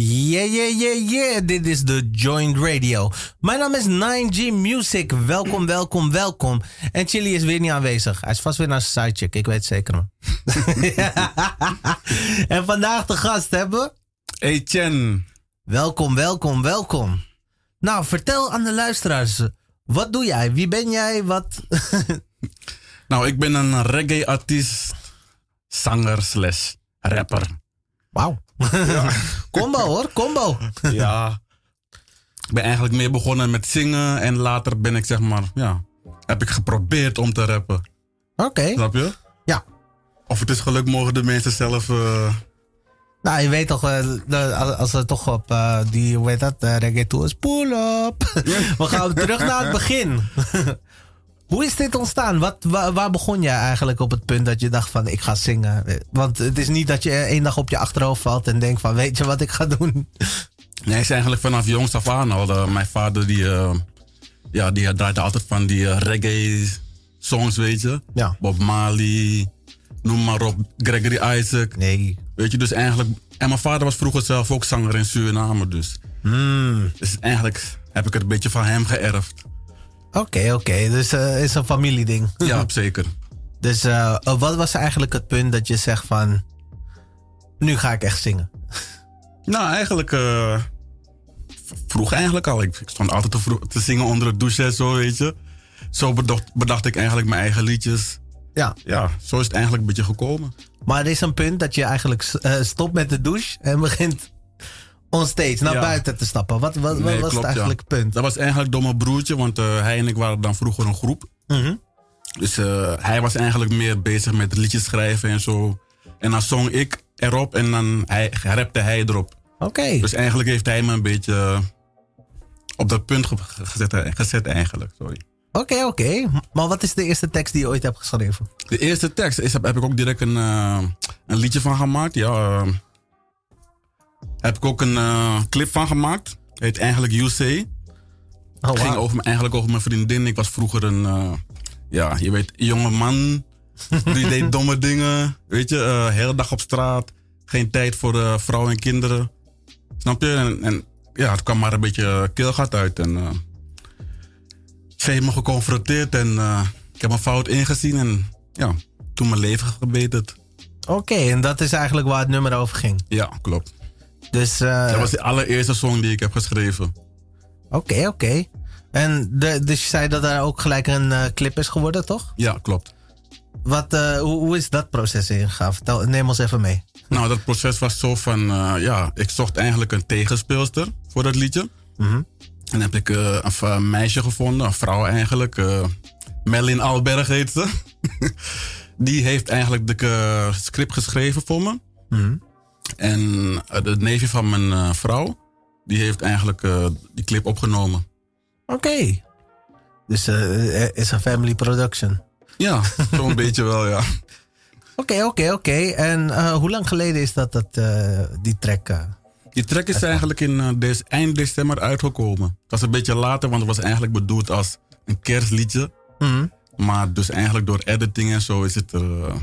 Yeah, yeah, yeah, yeah. Dit is de Joint Radio. Mijn naam is 9G Music. Welkom, welkom, welkom. En Chili is weer niet aanwezig. Hij is vast weer naar zijn sidecheck. Ik weet het zeker. man. en vandaag de gast hebben we... Etienne. Welkom, welkom, welkom. Nou, vertel aan de luisteraars. Wat doe jij? Wie ben jij? Wat... Nou, ik ben een reggae-artiest, zanger slash rapper. Wauw. Combo hoor, combo. Ja. Ik ben eigenlijk meer begonnen met zingen en later ben ik zeg maar, ja, heb ik geprobeerd om te rappen. Oké. Snap je? Ja. Of het is geluk mogen de mensen zelf... eh, Nou, je weet toch, eh, de- als- als we toch op eh, die, hoe heet dat, eh, reggae tours, pull up. We gaan terug naar het begin. hoe is dit ontstaan? Wat, wa- waar, begon jij eigenlijk op het punt dat je dacht van, ik ga zingen? Want het is niet dat je eh, één dag op je achterhoofd valt en denkt van, weet je wat ik ga doen? Nee, is eigenlijk vanaf jongs af aan al. eh, mijn vader die, eh, ja, die draaide altijd van die eh, reggae-songs, weet je. Ja. Bob Marley, noem maar op, Gregory Isaac. Nee. Weet je, dus eigenlijk... En mijn vader was vroeger zelf ook zanger in Suriname, dus... Hmm. Dus eigenlijk heb ik het een beetje van hem geërfd. Oké, oké. Dus het is een familieding. Ja, zeker. Dus eh, wat was eigenlijk het punt dat je zegt van, nu ga ik echt zingen? Nou, eigenlijk... eh, v- vroeg eigenlijk al. Ik, ik stond altijd te, vroeg, te zingen onder de douche en zo, weet je. Zo bedacht, bedacht ik eigenlijk mijn eigen liedjes. Ja. Ja, zo is het eigenlijk een beetje gekomen. Maar er is een punt dat je eigenlijk eh, stopt met de douche en begint onsteeds naar Ja. buiten te stappen. Wat, wat, wat Nee, was klopt, het eigenlijk het punt? Dat was eigenlijk door mijn broertje, want eh, hij en ik waren dan vroeger een groep. Mhm. Dus eh, hij was eigenlijk meer bezig met liedjes schrijven en zo. En dan zong ik erop en dan hij, rapte hij erop. Oké. Dus eigenlijk heeft hij me een beetje eh, op dat punt ge- ge- gezet, gezet eigenlijk. Sorry. Oké, oké. Maar wat is de eerste tekst die je ooit hebt geschreven? De eerste tekst is, heb, heb ik ook direct een, eh, een liedje van gemaakt. Ja, eh, heb ik ook een eh, clip van gemaakt. Heet eigenlijk UC. Oh, Het ging wauw. over, me- eigenlijk over mijn vriendin. Ik was vroeger een, eh, ja, je weet, jonge man. Die deed domme dingen. Weet je, eh hele dag op straat. Geen tijd voor eh, vrouwen en kinderen. Snap je? En, en ja, het kwam maar een beetje eh, keelgat uit. En eh, ze heeft me geconfronteerd en eh, ik heb mijn fout ingezien. En ja, toen mijn leven gebeterd. Oké, en dat is eigenlijk waar het nummer over ging. Ja, klopt. Dus, eh, Dat was de allereerste song die ik heb geschreven. oké, oké. En de, dus je zei dat er ook gelijk een eh, clip is geworden, toch? Ja, klopt. Wat, eh, hoe, hoe is dat proces ingegaan? Vertel, neem ons even mee. Nou, dat proces was zo van, eh, ja, ik zocht eigenlijk een tegenspeelster voor dat liedje. Mhm. En heb ik eh, een v- een meisje gevonden, een vrouw eigenlijk. eh Merlin Alberg heet ze. Die heeft eigenlijk de eh, script geschreven voor me. Mhm. En eh, de neefje van mijn eh, vrouw, die heeft eigenlijk eh, die clip opgenomen. Oké. Dus eh, eh, is een family production. Ja, zo'n beetje wel, ja. Oké, oké, oké. En eh, hoe lang geleden is dat, dat eh, die track? eh? Die track is eigenlijk in eh, des- eind december uitgekomen. Het was een beetje later, want het was eigenlijk bedoeld als een kerstliedje. Mhm. Maar dus eigenlijk door editing en zo is het er eh,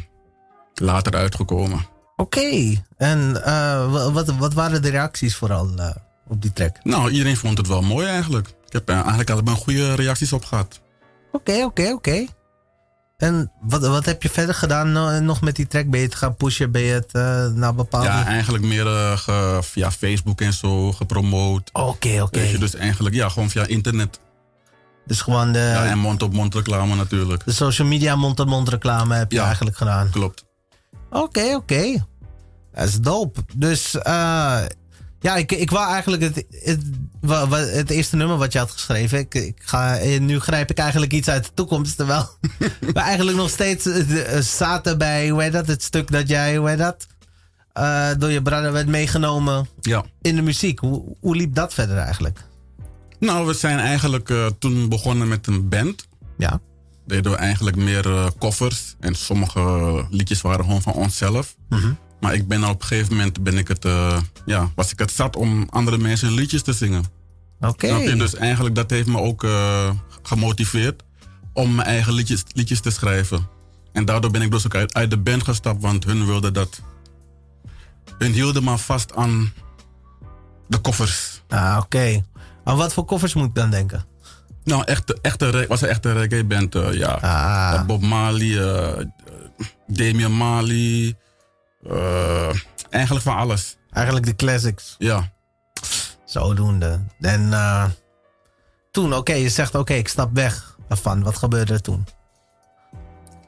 later uitgekomen. Oké. En eh, wa- wat, wat waren de reacties vooral eh, op die track? Nou, iedereen vond het wel mooi eigenlijk. Ik heb eh, eigenlijk altijd wel goede reacties op gehad. Oké, oké, oké. En wat, wat heb je verder gedaan eh, nog met die track? Ben je het gaan pushen? Ben je het eh, naar bepaalde... Ja, eigenlijk meer eh, ge- via Facebook en zo gepromoot. Oké, oké. Weet je, dus eigenlijk ja, gewoon via internet. Dus gewoon de, Ja, en mond-op-mond reclame natuurlijk. de social media mond-to-mond reclame heb je Ja. eigenlijk gedaan. Klopt. Oké, oké. Dat is dope. Dus eh, ja, ik, ik wou eigenlijk het, het, wa- wa- het eerste nummer wat je had geschreven. Ik, ik ga, eh, nu grijp ik eigenlijk iets uit de toekomst. Terwijl we eigenlijk nog steeds eh, de- eh, zaten bij, hoe heet dat? Het stuk dat jij, hoe heet dat? eh, door je brother werd meegenomen Ja. in de muziek. Hoe, hoe liep dat verder eigenlijk? Nou, we zijn eigenlijk eh, toen begonnen met een band. Ja. Deden we eigenlijk meer eh, covers. En sommige liedjes waren gewoon van onszelf. Mhm. Maar ik ben op een gegeven moment ben ik het, eh, ja, was ik het zat om andere mensen liedjes te zingen. Oké. Snap je? Dus eigenlijk dat heeft me ook eh, gemotiveerd om mijn eigen liedjes, liedjes te schrijven. En daardoor ben ik dus ook uit, uit de band gestapt, want hun wilden dat. Hun hielden maar vast aan De koffers. Ah, oké. Aan wat voor koffers moet ik dan denken? Nou, echte, echte, re- was een echte reggae-band, eh, ja. Ah, Eh, Bob Marley, eh, eh, Damian Marley. eh, eigenlijk van alles. eigenlijk de classics. Ja. Zodoende. En eh, toen, oké, je zegt oké, ik stap weg ervan. Wat gebeurde er toen?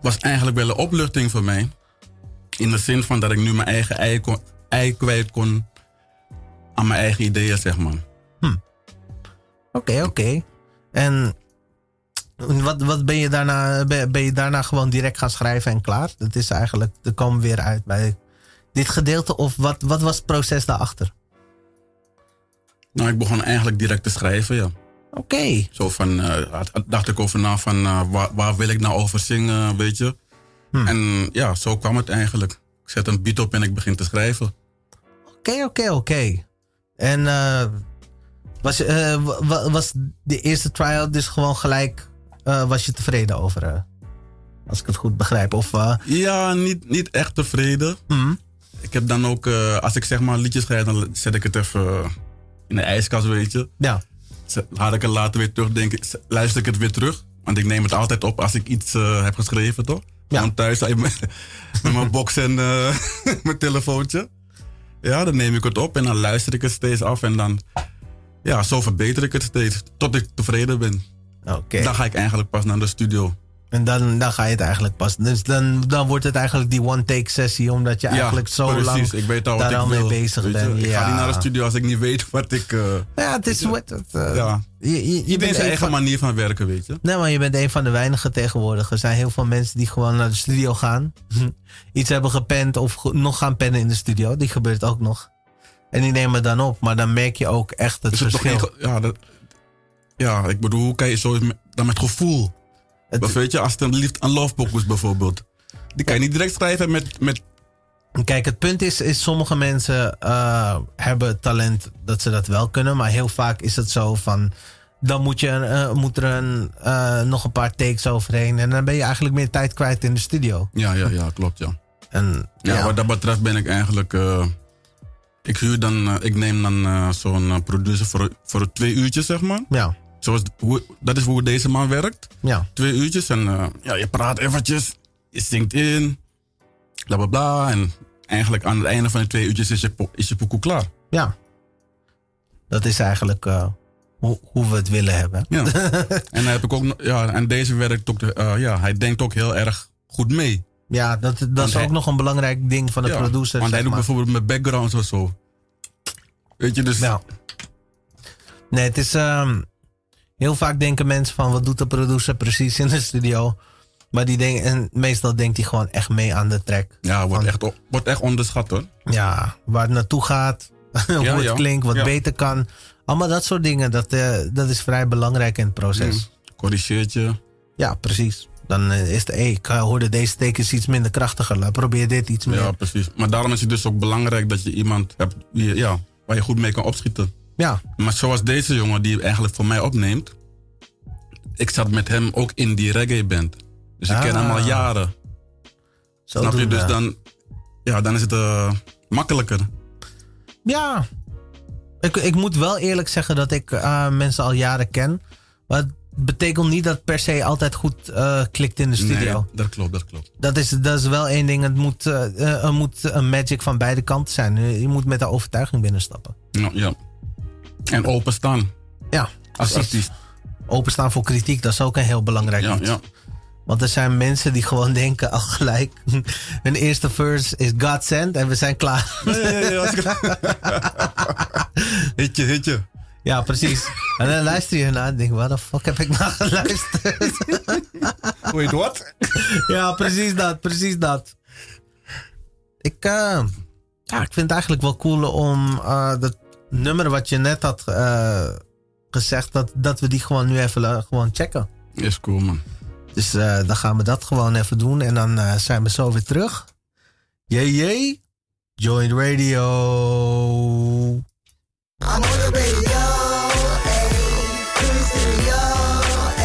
was eigenlijk wel een opluchting voor mij. In de zin van dat ik nu mijn eigen ei, kon, ei kwijt kon aan mijn eigen ideeën, zeg maar. Oké, oké. En wat, wat ben, je daarna, ben, ben je daarna gewoon direct gaan schrijven en klaar? Dat is eigenlijk, er kwam weer uit bij dit gedeelte. Of wat, wat was het proces daarachter? Nou, ik begon eigenlijk direct te schrijven, ja. Oké. Zo van, eh, had- had- dacht ik over na van, eh, waar, waar wil ik nou over zingen, weet je. Hmm. En ja, zo kwam het eigenlijk. Ik zet een beat op en ik begin te schrijven. Oké, oké, oké. En eh, was, je, eh, wa- wa- was de eerste tryout dus gewoon gelijk... eh, was je tevreden over? eh, als ik het goed begrijp. Of... eh, Ja, niet, niet echt tevreden. hmm, Ik heb dan ook, eh, als ik zeg maar liedjes schrijf, dan zet ik het even eh, in de ijskast, weet je. ja. Had ik het later weer terug, denk ik, z- luister ik het weer terug. Want ik neem het altijd op als ik iets eh, heb geschreven, toch? Ja. Gewoon thuis eh, met, met mijn box en eh, mijn telefoontje. Ja, dan neem ik het op en dan luister ik het steeds af. En dan, ja, zo verbeter ik het steeds. Tot ik tevreden ben. Oké. Dan ga ik eigenlijk pas naar de studio. En dan, dan ga je het eigenlijk pas. Dus dan, dan wordt het eigenlijk die one-take sessie, omdat je eigenlijk zo precies. lang. ik weet al wat daar ik al mee wil, bezig weet je. bent, Ik ga ja. niet naar de studio als ik niet weet wat ik... eh, Ja, het is. Wat, het, eh, ja. je, je- je, Iedereen bent zijn een eigen van, manier van werken, weet je. nee, maar je bent een van de weinigen tegenwoordig. Er zijn heel veel mensen die gewoon naar de studio gaan, iets hebben gepend of ge- nog gaan pennen in de studio. Die gebeurt ook nog. En die nemen dan op, maar dan merk je ook echt Dus het Is het toch verschil. geen... ge- Ja, dat, ja, ik bedoel, hoe kan je zo met- dan met gevoel? Het- Maar weet je, als het een liefde aan love book is bijvoorbeeld. Die kan je niet direct schrijven met... met Kijk, het punt is, is sommige mensen eh, hebben talent dat ze dat wel kunnen. Maar heel vaak is het zo van... Dan moet, je, eh, moet er een, eh, nog een paar takes overheen. En dan ben je eigenlijk meer tijd kwijt in de studio. ja, ja, ja, klopt, ja. En, ja. ja, Wat dat betreft ben ik eigenlijk... eh, ik huur dan... eh, ik neem dan eh, zo'n eh, producer voor, voor twee uurtjes, zeg maar. ja, Zoals, hoe, dat is hoe deze man werkt. ja. Twee uurtjes en eh, ja, je praat eventjes. Je zingt in. Bla, bla, bla. En eigenlijk aan het einde van de twee uurtjes is je, po- is je pokoe klaar. ja. Dat is eigenlijk eh, hoe, hoe we het willen hebben. Ja. en, dan heb ik ook, nog- ja, en deze werkt ook, de- eh, ja, hij denkt ook heel erg goed mee. Ja, dat, dat Want is hij- ook nog een belangrijk ding van de Ja, producer. Want zeg hij doet maar. bijvoorbeeld met backgrounds of zo. Weet je, dus Ja. Nee, het is. ehm, heel vaak denken mensen van wat doet de producer precies in de studio. Maar die denken, en meestal denkt hij gewoon echt mee aan de track. ja, wordt, Van- Mm. echt, o- wordt echt onderschat hoor. Ja, waar het naartoe gaat, hoe Ja, het ja. klinkt, wat Ja. beter kan. Allemaal dat soort dingen, dat, eh, dat is vrij belangrijk in het proces. Mm. Corrigeert je. Ja, precies. Dan eh, is het, hey, ik eh, hoorde deze tekens iets minder krachtiger. laat- Probeer dit iets meer. Ja, precies. Maar daarom is het dus ook belangrijk dat je iemand hebt die, ja, waar je goed mee kan opschieten. Ja, Maar zoals deze jongen die eigenlijk voor mij opneemt. Ik zat met hem ook in die reggae band. Dus ik ken Ah. hem al jaren. zo Snap je? doen Dus we. dan, ja, dan is het eh, makkelijker. Ja. Ik, ik moet wel eerlijk zeggen dat ik eh, mensen al jaren ken. Maar het betekent niet dat het per se altijd goed eh, klikt in de studio. Nee, dat klopt, dat klopt. Dat, is, dat is wel één ding. Het moet, eh, eh, er moet een magic van beide kanten zijn. Eh, Je moet met de overtuiging binnenstappen. Ja, ja. En openstaan Ja, als precies. artiest. Openstaan voor kritiek, dat is ook een heel belangrijk Ja, iets. ja. Want er zijn mensen die gewoon denken al gelijk... hun eerste verse is God sent en we zijn klaar. hitje, hitje. Ja, precies. en dan luister je naar en denk waar de fuck heb ik naar geluisterd? Wait, what? Ja, precies dat, precies dat. Ik, eh, ja, ik vind het eigenlijk wel cool om eh, dat nummer wat je net had eh, gezegd, dat, dat we die gewoon nu even eh, gewoon checken. Is cool, man. Dus eh, dan gaan we dat gewoon even doen en dan eh, zijn we zo weer terug. Jee, jee. Joint Radio. I'm on the radio, ayy. In the studio,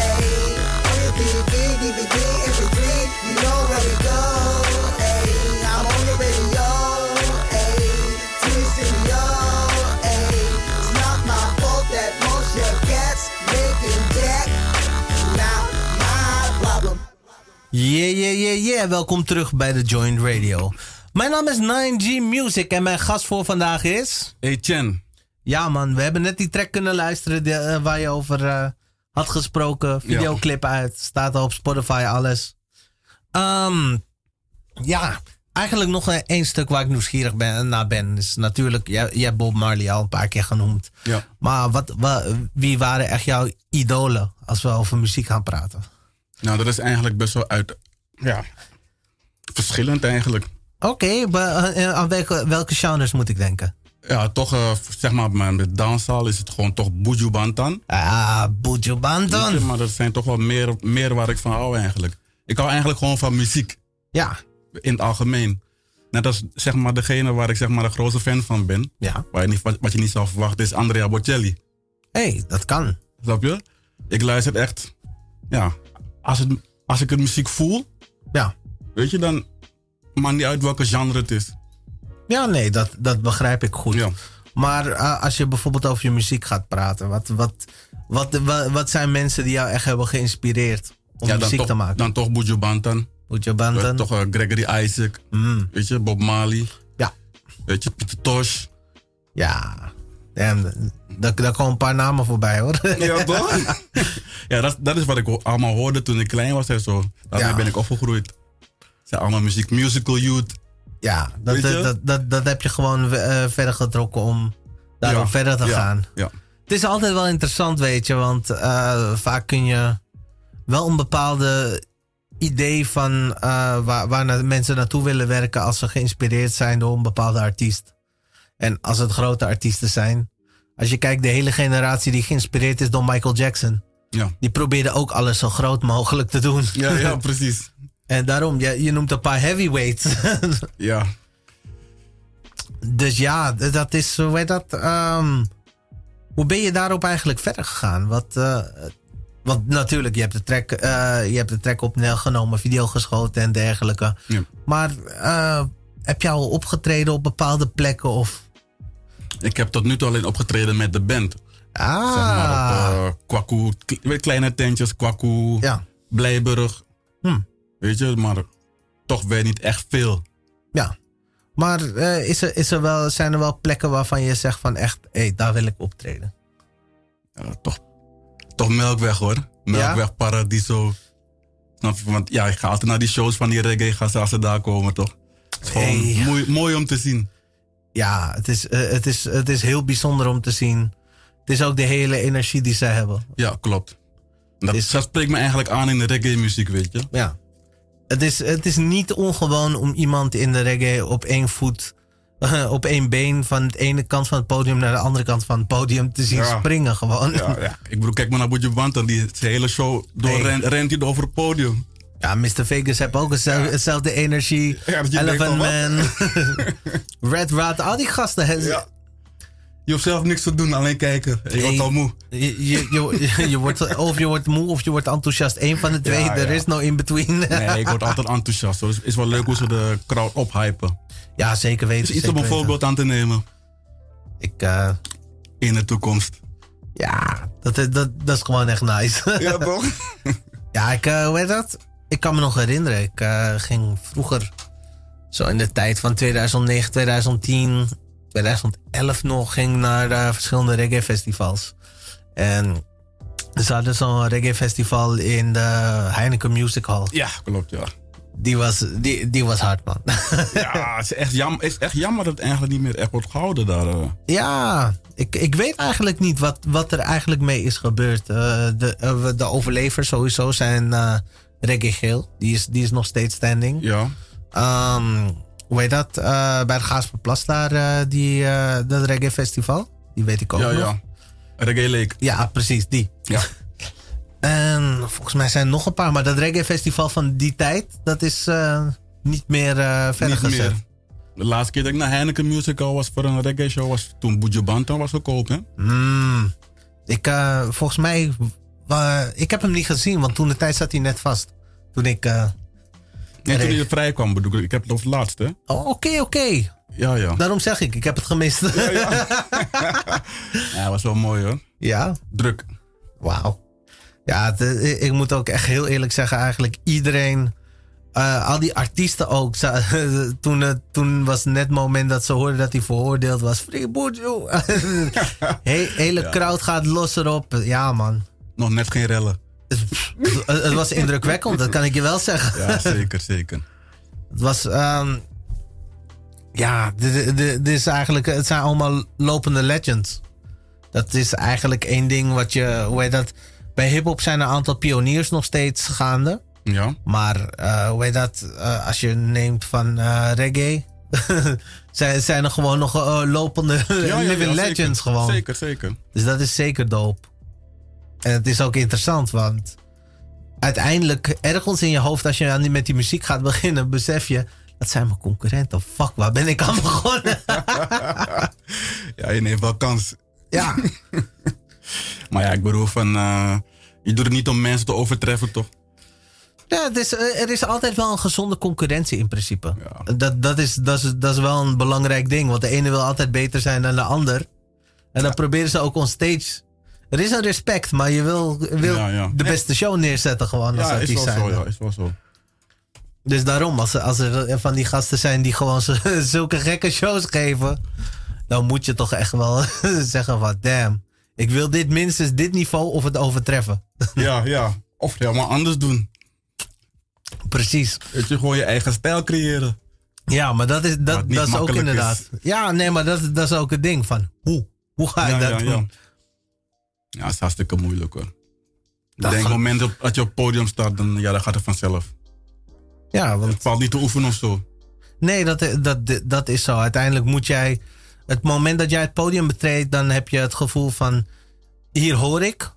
ayy. On your TV, DVD, MP3, you know where we go, ayy. I'm on the radio, ayy. To the studio, ayy. Yeah, yeah, yeah, yeah. Welkom terug bij de Joint Radio. Mijn naam is 9G Music en mijn gast voor vandaag is... Hey Chen, Ja man, we hebben net die track kunnen luisteren die, eh, waar je over eh, had gesproken. Videoclip uit, staat al op Spotify, alles. Ehm, ja, eigenlijk nog eh, één stuk waar ik nieuwsgierig ben, naar ben. Is natuurlijk, jij, jij hebt Bob Marley al een paar keer genoemd. ja. Maar wat, wa- wie waren echt jouw idolen als we over muziek gaan praten? nou dat is eigenlijk best wel uit... Ja, verschillend eigenlijk. Oké, maar, eh, aan welke, welke genres moet ik denken? Ja, toch, eh, zeg maar, maar met danszaal is het gewoon toch Buju Bantan. Ah, Buju Weet je, Banton. Maar dat zijn toch wel meer, meer waar ik van hou eigenlijk. Ik hou eigenlijk gewoon van muziek Ja, in het algemeen. Net als zeg maar degene waar ik zeg maar de grootste fan van ben. ja. Waar je niet, wat, wat je niet zou verwachten is Andrea Bocelli. Hé, hey, dat kan. Snap je? Ik luister echt. Ja, als, het, als ik het muziek voel, Ja. weet je dan. Maakt niet uit welke genre het is. Ja, nee, dat, dat begrijp ik goed. Ja. Maar eh, als je bijvoorbeeld over je muziek gaat praten, wat, wat, wat, wat, wat zijn mensen die jou echt hebben geïnspireerd om ja, dan muziek toch, te maken? Dan toch Buju Bantan. Buju eh, Banton. Toch eh, Gregory Isaac. Mm, Weet je, Bob Marley. Ja. Weet je, Pieter Tosh. ja, Damn, d- daar, daar komen een paar namen voorbij hoor. Ja, toch? ja, dat, dat is wat ik ho- allemaal hoorde toen ik klein was en zo. Daarmee Ja. ben ik opgegroeid. Het zijn allemaal muziek, musical youth. ja, dat, Weet je? dat, dat, dat heb je gewoon eh, verder getrokken om daarop Ja, verder te ja, gaan. ja. Het is altijd wel interessant, weet je, want eh, vaak kun je wel een bepaalde idee van eh, waar, waar na- mensen naartoe willen werken als ze geïnspireerd zijn door een bepaalde artiest. En als het grote artiesten zijn. Als je kijkt, de hele generatie die geïnspireerd is door Michael Jackson. Ja. Die probeerde ook alles zo groot mogelijk te doen. Ja, ja, precies. En daarom, je, je noemt een paar heavyweights. Ja, Dus ja, d- dat is, hoe heet dat? ehm, hoe ben je daarop eigenlijk verder gegaan? Wat, eh, want natuurlijk, je hebt de track, eh, je hebt de track opgenomen, video geschoten en dergelijke. Ja. Maar eh, heb jij al opgetreden op bepaalde plekken? Of, ik heb tot nu toe alleen opgetreden met de band. ah, Zeg maar op eh, Kwaku, k- weet je, kleine tentjes, Kwaku, ja, Blijburg. Hm. Weet je, maar toch weer niet echt veel. ja. Maar eh, is er, is er wel, zijn er wel plekken waarvan je zegt van echt, hé, daar wil ik optreden? Ja, Eh, toch, toch Melkweg hoor. Melkweg, Paradiso. Snap je? Want ja, ik ga altijd naar die shows van die reggae gasten als ze daar komen, toch? Het is gewoon Hey. mooi, mooi om te zien. Ja, het is, eh, het, is, het is heel bijzonder om te zien. Het is ook de hele energie die zij hebben. Ja, klopt. En Dat, Is- dat spreekt me eigenlijk aan in de reggae muziek, weet je. Ja. Het is, het is niet ongewoon om iemand in de reggae op één voet, eh, op één been van de ene kant van het podium naar de andere kant van het podium te zien Ja. springen gewoon. Ja. Ja, ja. Ik bedoel, kijk maar naar Boetje Bantan, die zijn hele show door Hey. rent, rent hij over het podium. Mr. Vegas heeft ook hetzelfde, hetzelfde energie. Ja, dat je Elephant denkt van, Man, Red Rat, al die gasten. hè. Ja. Je hoeft zelf niks te doen, alleen kijken. Je wordt Hey. al moe. Je, je, je, je wordt, of je wordt moe of je wordt enthousiast. Eén van de twee, Ja, er ja. is no in between. Nee, ik word altijd enthousiast. hoor. Dus Het is wel leuk hoe ze de crowd ophypen. Ja, zeker weten. Het is iets zeker om een weten. voorbeeld aan te nemen Ik, eh, in de toekomst. ja, dat, is- dat, dat is gewoon echt nice. Ja, toch? Ja, ik, eh, hoe heet dat? Ik kan me nog herinneren. Ik eh, ging vroeger, zo in de tijd van 2009, 2010, 2011 nog, ging naar eh, verschillende reggae-festivals. En ze hadden zo'n reggae-festival in de Heineken Music Hall. Ja, klopt, ja. Die was, die, die was hard, man. Ja, het is echt jammer, het is echt jammer dat het eigenlijk niet meer echt wordt gehouden daar. eh. ja, ik, ik weet eigenlijk niet wat, wat er eigenlijk mee is gebeurd. Eh, de, eh, de overlevers sowieso zijn eh reggae geel. Die is, die is nog steeds standing. Ja, Ehm, hoe heet dat? Eh, bij het Gaasperplas daar, eh, die, eh dat reggae festival. Die weet ik ook ja, nog. ja. Reggae Lake. Ja, precies, die. Ja. En volgens mij zijn er nog een paar, maar dat reggae festival van die tijd, dat is eh, niet meer eh, verder niet gezet. meer. De laatste keer dat ik naar Heineken Musical was voor een reggae show was toen Boetje Bantan was gekomen. hè? Hmm. Ik, eh, volgens mij, wa- ik heb hem niet gezien, want toen de tijd zat hij net vast. Toen ik, eh, Nee, toen Reggae. hij vrij kwam bedoel ik. Ik heb het als laatste. hè? oh, oké, oké. Ja, ja. Daarom zeg ik, ik heb het gemist. Ja, ja. ja, was wel mooi hoor. ja. Druk. Wauw. Ja, het, eh, ik moet ook echt heel eerlijk zeggen, eigenlijk iedereen eh, al die artiesten ook. ze- toen, het- toen was net het moment dat ze hoorden dat hij veroordeeld was. Free Bourgeois. He, hele crowd gaat los erop. Ja, man. Nog net geen rellen. het, het was indrukwekkend, dat kan ik je wel zeggen. Ja, zeker, zeker. Het was. ehm, ja, dit- dit- dit is eigenlijk, het zijn allemaal lopende legends. Dat is eigenlijk één ding wat je. Hoe heet dat? Bij hip-hop zijn een aantal pioniers nog steeds gaande. Ja, Maar eh, hoe heet dat? eh, als je neemt van eh, reggae. zijn, zijn er gewoon nog eh, lopende ja, ja, living zeker. legends gewoon. Zeker, zeker. Dus dat is zeker doop. En het is ook interessant, want uiteindelijk, ergens in je hoofd, als je aan die, met die muziek gaat beginnen, besef je, dat zijn mijn concurrenten. Oh, Fuck, waar ben ik aan begonnen? Ja, je neemt wel kans. ja, Maar ja, ik bedoel van... eh, je doet het niet om mensen te overtreffen, toch? ja het is, eh, er is altijd wel een gezonde concurrentie in principe. Ja. Dat, dat, is, dat, is, dat is wel een belangrijk ding, want de ene wil altijd beter zijn dan de ander. En dan proberen ze ook on stage. Er is een respect, maar je wil, wil Ja, ja. de beste show neerzetten gewoon als Ja, is artiest wel zo. zijnde. Ja, is wel zo. Dus daarom, als, als er van die gasten zijn die gewoon z- zulke gekke shows geven, dan moet je toch echt wel zeggen van damn, ik wil dit minstens dit niveau of het overtreffen. Ja, ja. Of helemaal anders doen. Precies. Weet je, gewoon je eigen stijl creëren. Ja, maar dat is, Wat dat, niet dat is ook makkelijk inderdaad. Ja, nee, maar dat, dat is ook het ding van hoe? Hoe ga ik ja, dat ja, doen? ja. Ja, het is hartstikke moeilijk hoor. Ik Dat denk op gaat- het moment dat- dat je op het podium staat, dan, ja, dan gaat het vanzelf. Ja, want Het valt niet te oefenen of zo. Nee, dat, dat, dat is zo. Uiteindelijk moet jij. Het moment dat jij het podium betreedt, dan heb je het gevoel van. Hier hoor ik.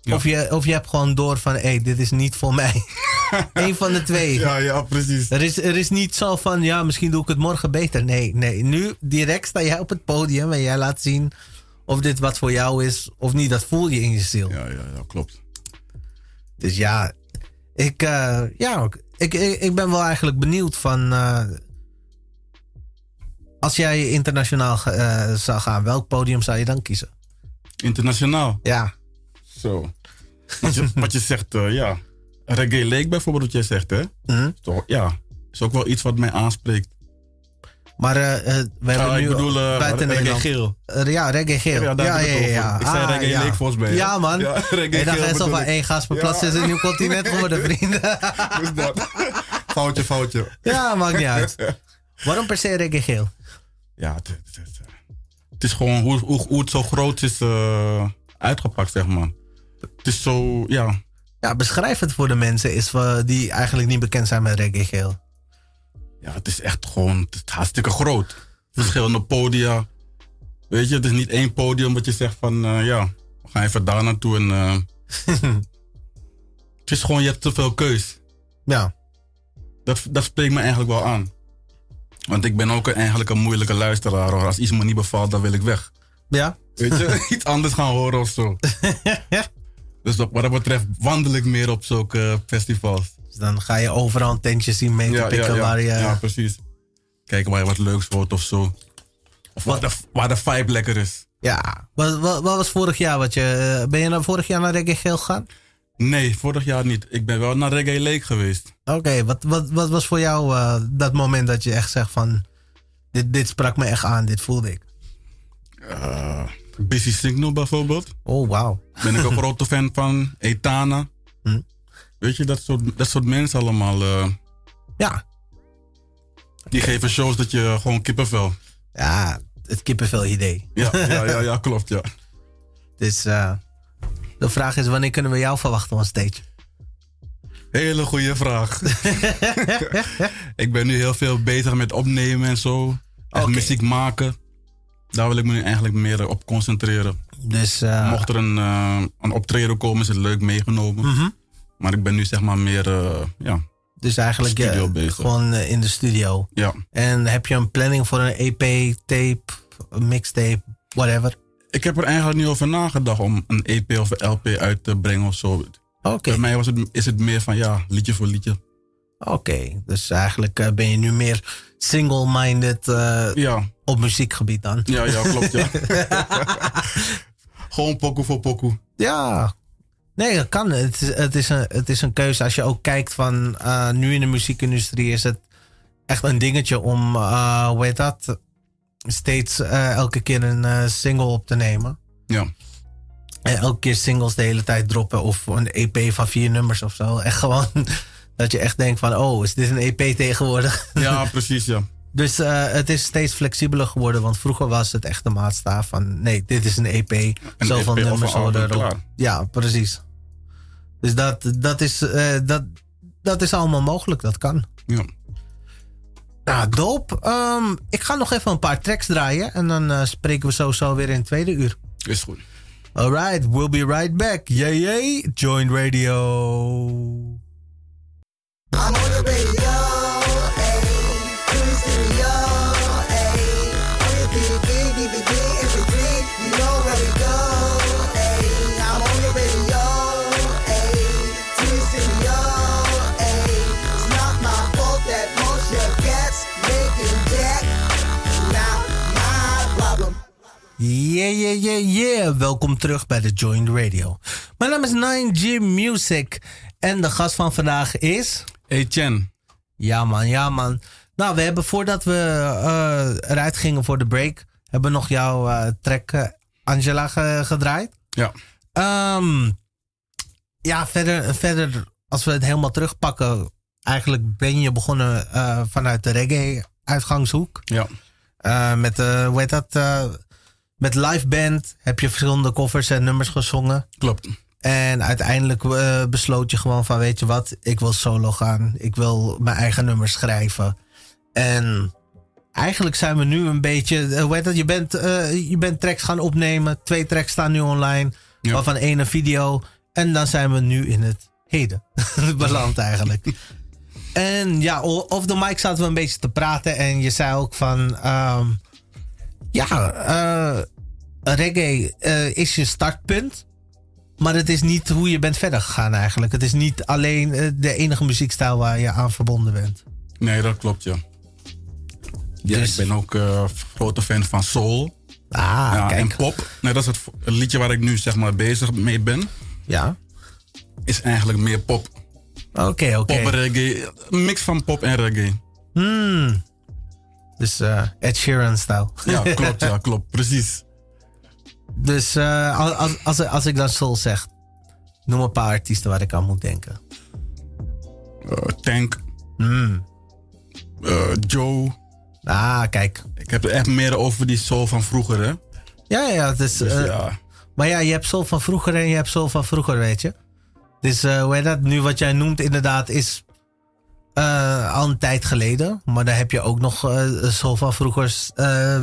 Ja. Of, je, of je hebt gewoon door van. Hé, dit is niet voor mij. Eén van de twee. Ja, ja, precies. Er, is, er is niet zo van. Ja, misschien doe ik het morgen beter. Nee, nee. Nu direct sta jij op het podium en jij laat zien. Of dit wat voor jou is of niet. Dat voel je in je ziel. Ja, ja, ja, klopt. Dus ja, ik, eh, ja ik, ik, ik ben wel eigenlijk benieuwd van. eh, als jij internationaal ge- eh, zou gaan, welk podium zou je dan kiezen? Internationaal. Ja. Zo. Wat je, wat je zegt, eh, ja. Reggae Lake bijvoorbeeld, wat jij zegt, hè? Hm? Toch, ja. Is ook wel iets wat mij aanspreekt. Maar eh, eh, we hebben Ah, nu ik bedoel, eh, buiten reggae Nederland. geel. Eh, ja, reggae geel. Ja, daar heb ik het over. Ik zei Ah, reggae leek volgens mij, hè? Ja, man. Ja, reggae en dan geel gaan ze bedoel van ik. één gas per Ja. plaats is een nieuw continent geworden, vrienden. Dus dat. foutje, foutje. ja, maakt niet uit. Waarom per se reggae geel? Ja, het, het- het- het is gewoon hoe, hoe, hoe het zo groot is eh, uitgepakt, zeg maar. Het is zo, ja. Ja, beschrijf het voor de mensen is, eh, die eigenlijk niet bekend zijn met reggae geel. Ja, het is echt gewoon het is hartstikke groot. Verschillende podia. Weet je, het is niet één podium wat je zegt van, eh, ja, we gaan even daar naartoe en... eh, het is gewoon, je hebt te veel keus. Ja. Dat, dat spreekt me eigenlijk wel aan. Want ik ben ook een- eigenlijk een moeilijke luisteraar. Hoor. Als iets me niet bevalt, dan wil ik weg. Ja? Weet je, iets anders gaan horen of zo. Dus wat, wat dat betreft wandel ik meer op zulke eh, festivals. Dus dan ga je overal een tentje zien mee te pikken waar je... ja, precies. Kijken waar je wat leuks hoort of zo. Of waar de, waar de vibe lekker is. Ja. Wat, wat, wat was vorig jaar wat je... eh, Ben je nou vorig jaar naar Reggae Geel gegaan? Nee, vorig jaar niet. Ik ben wel naar Reggae Lake geweest. Oké, wat, wat, wat was voor jou eh, dat moment dat je echt zegt van... Dit, dit sprak me echt aan, dit voelde ik. Eh, Busy Signal bijvoorbeeld. Oh, wauw. Ben ik een grote fan van. Etana. Hm. Weet je, dat soort, dat soort mensen allemaal. eh, Ja. Die geven shows dat je gewoon kippenvel. Ja, het kippenvel idee. Ja, ja, ja, ja klopt, ja. Dus eh, de vraag is, wanneer kunnen we jou verwachten on stage? Hele goede vraag. ik ben nu heel veel bezig met opnemen en zo. Echt Oké. muziek maken. Daar wil ik me nu eigenlijk meer op concentreren. Dus eh, Mocht er een, eh, een optreden komen, is het leuk meegenomen. Mhm. Maar ik ben nu zeg maar meer, eh, ja, dus eigenlijk eh, studio bezig. gewoon eh, in de studio. ja. En heb je een planning voor een EP, tape, mixtape, whatever? Ik heb er eigenlijk niet over nagedacht om een EP of een LP uit te brengen of zo. Oké, Bij mij was het, is het meer van ja, liedje voor liedje. oké. Dus eigenlijk eh, ben je nu meer single-minded eh, Ja, op muziekgebied dan. ja, ja klopt ja. Gewoon pokoe voor pokoe. Ja. Nee, dat kan. Het is, het is, een, het is een keuze. Als je ook kijkt van eh, nu in de muziekindustrie is het echt een dingetje om, eh, hoe heet dat, steeds eh, elke keer een eh, single op te nemen. Ja. En Eh, elke keer singles de hele tijd droppen of een EP van vier nummers of zo. Echt gewoon dat je echt denkt van, oh, is dit een EP tegenwoordig? Ja, precies, ja. Dus eh, het is steeds flexibeler geworden, want vroeger was het echt de maatstaaf van, nee, dit is een EP. Een zo van EP of een nummers album, worden erop. klaar. Ja, precies. Dus dat, dat, is, eh, dat, dat is allemaal mogelijk, dat kan. Ja. Nou, doop. Ehm, ik ga nog even een paar tracks draaien en dan eh, spreken we sowieso weer in het tweede uur. Is goed. Alright, we'll be right back. Yay, yay, join radio. I'm on the radio, ayy. Stereo, ayy. On your DVD, DVD, MP3, you know where we go, ayy. I'm on the radio, ayy. Stereo, ayy. It's not my fault that most your cats making jack. Not my problem. Yeah, yeah, yeah, yeah. Welkom terug bij de Joint Radio. Mijn naam is 9G Music en de gast van vandaag is... Hey Chen, Ja man, ja man. Nou, we hebben voordat we eh, eruit gingen voor de break... hebben we nog jouw eh, track eh, Angela ge- gedraaid. ja. Ehm, ja, verder, verder, als we het helemaal terugpakken... eigenlijk ben je begonnen eh, vanuit de reggae-uitgangshoek. Ja, Eh, met, eh, hoe heet dat? eh, met live band heb je verschillende covers en nummers gezongen. klopt. En uiteindelijk eh, besloot je gewoon van, weet je wat? Ik wil solo gaan. Ik wil mijn eigen nummers schrijven. En eigenlijk zijn we nu een beetje... eh, hoe heet dat? Je bent, eh, je bent tracks gaan opnemen. Twee tracks staan nu online. Ja. Waarvan één een video. En dan zijn we nu in het heden beland eigenlijk. En ja, o- off de mic zaten we een beetje te praten. En je zei ook van... ehm, ja, eh, reggae eh, is je startpunt. Maar het is niet hoe je bent verder gegaan eigenlijk. Het is niet alleen eh, de enige muziekstijl waar je aan verbonden bent. Nee, dat klopt, ja. ja Dus- Ik ben ook eh, grote fan van soul Ah, ja, en kijk. pop. Nou, dat is het vo- het liedje waar ik nu zeg maar bezig mee ben. Ja. Is eigenlijk meer pop. Oké, oké. Pop en reggae. Een mix van pop en reggae. Hmm. Dus eh, Ed Sheeran-stijl. Ja, klopt, ja, klopt. Precies. Dus eh, als, als- als, als ik dan soul zeg, noem een paar artiesten waar ik aan moet denken. Eh, Tank, Hmm. eh, Joe. Ah, kijk. Ik heb er echt meer over die soul van vroeger, hè. Ja, ja, het is... Dus eh, ja, Maar ja, je hebt soul van vroeger en je hebt soul van vroeger, weet je. Dus eh, hoe heet dat? Nu wat jij noemt inderdaad is eh, al een tijd geleden. Maar dan heb je ook nog eh soul van vroeger. eh,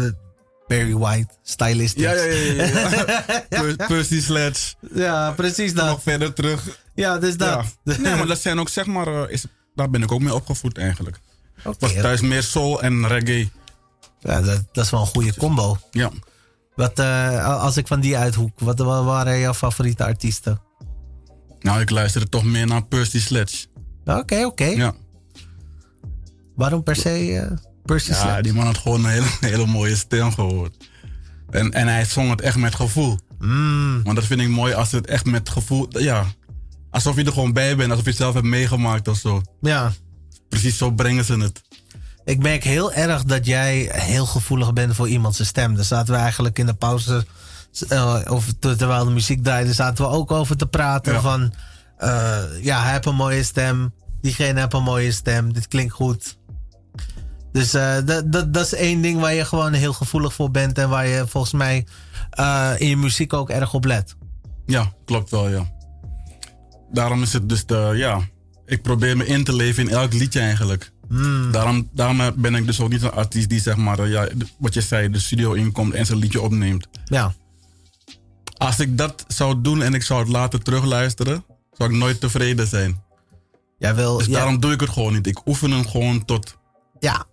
Barry White, stylistics. ja, ja, ja. ja, ja. Per- Percy Sledge. Ja, precies dat. Nog verder terug. Ja, dus dat. Ja. Nee, maar dat zijn ook zeg maar, eh, is, daar ben ik ook mee opgevoed eigenlijk. Oké, Was thuis meer soul en reggae. ja, dat, dat is wel een goede combo. Ja. Wat, eh, als ik van die uithoek, wat, wat waren jouw favoriete artiesten? Nou, ik luisterde toch meer naar Percy Sledge. Oké, Nou, oké. Ja. Waarom per se eh, Percy Ja, Sledge? die man had gewoon een hele, hele mooie stem gehoord. En, en hij zong het echt met gevoel. Mm, Want dat vind ik mooi als het echt met gevoel. Ja, alsof je er gewoon bij bent, alsof je het zelf hebt meegemaakt of zo. ja. Precies zo brengen ze het. Ik merk heel erg dat jij heel gevoelig bent voor iemand zijn stem. Daar zaten we eigenlijk in de pauze, eh, of te- terwijl de muziek draaide, zaten we ook over te praten Ja. van... eh, ja, hij heeft een mooie stem. Diegene heeft een mooie stem. Dit klinkt goed. Dus eh, dat, dat, dat is één ding waar je gewoon heel gevoelig voor bent. En waar je volgens mij eh, in je muziek ook erg op let. Ja, klopt wel, ja. Daarom is het dus de, ja. Ik probeer me in te leven in elk liedje eigenlijk. Hmm. Daarom, daarom ben ik dus ook niet een artiest die, zeg maar, eh, ja, d- wat je zei, de studio inkomt en zijn liedje opneemt. Ja, Als ik dat zou doen en ik zou het later terugluisteren, zou ik nooit tevreden zijn. jij wil, Dus jij- daarom doe ik het gewoon niet. Ik oefen hem gewoon tot. Ja.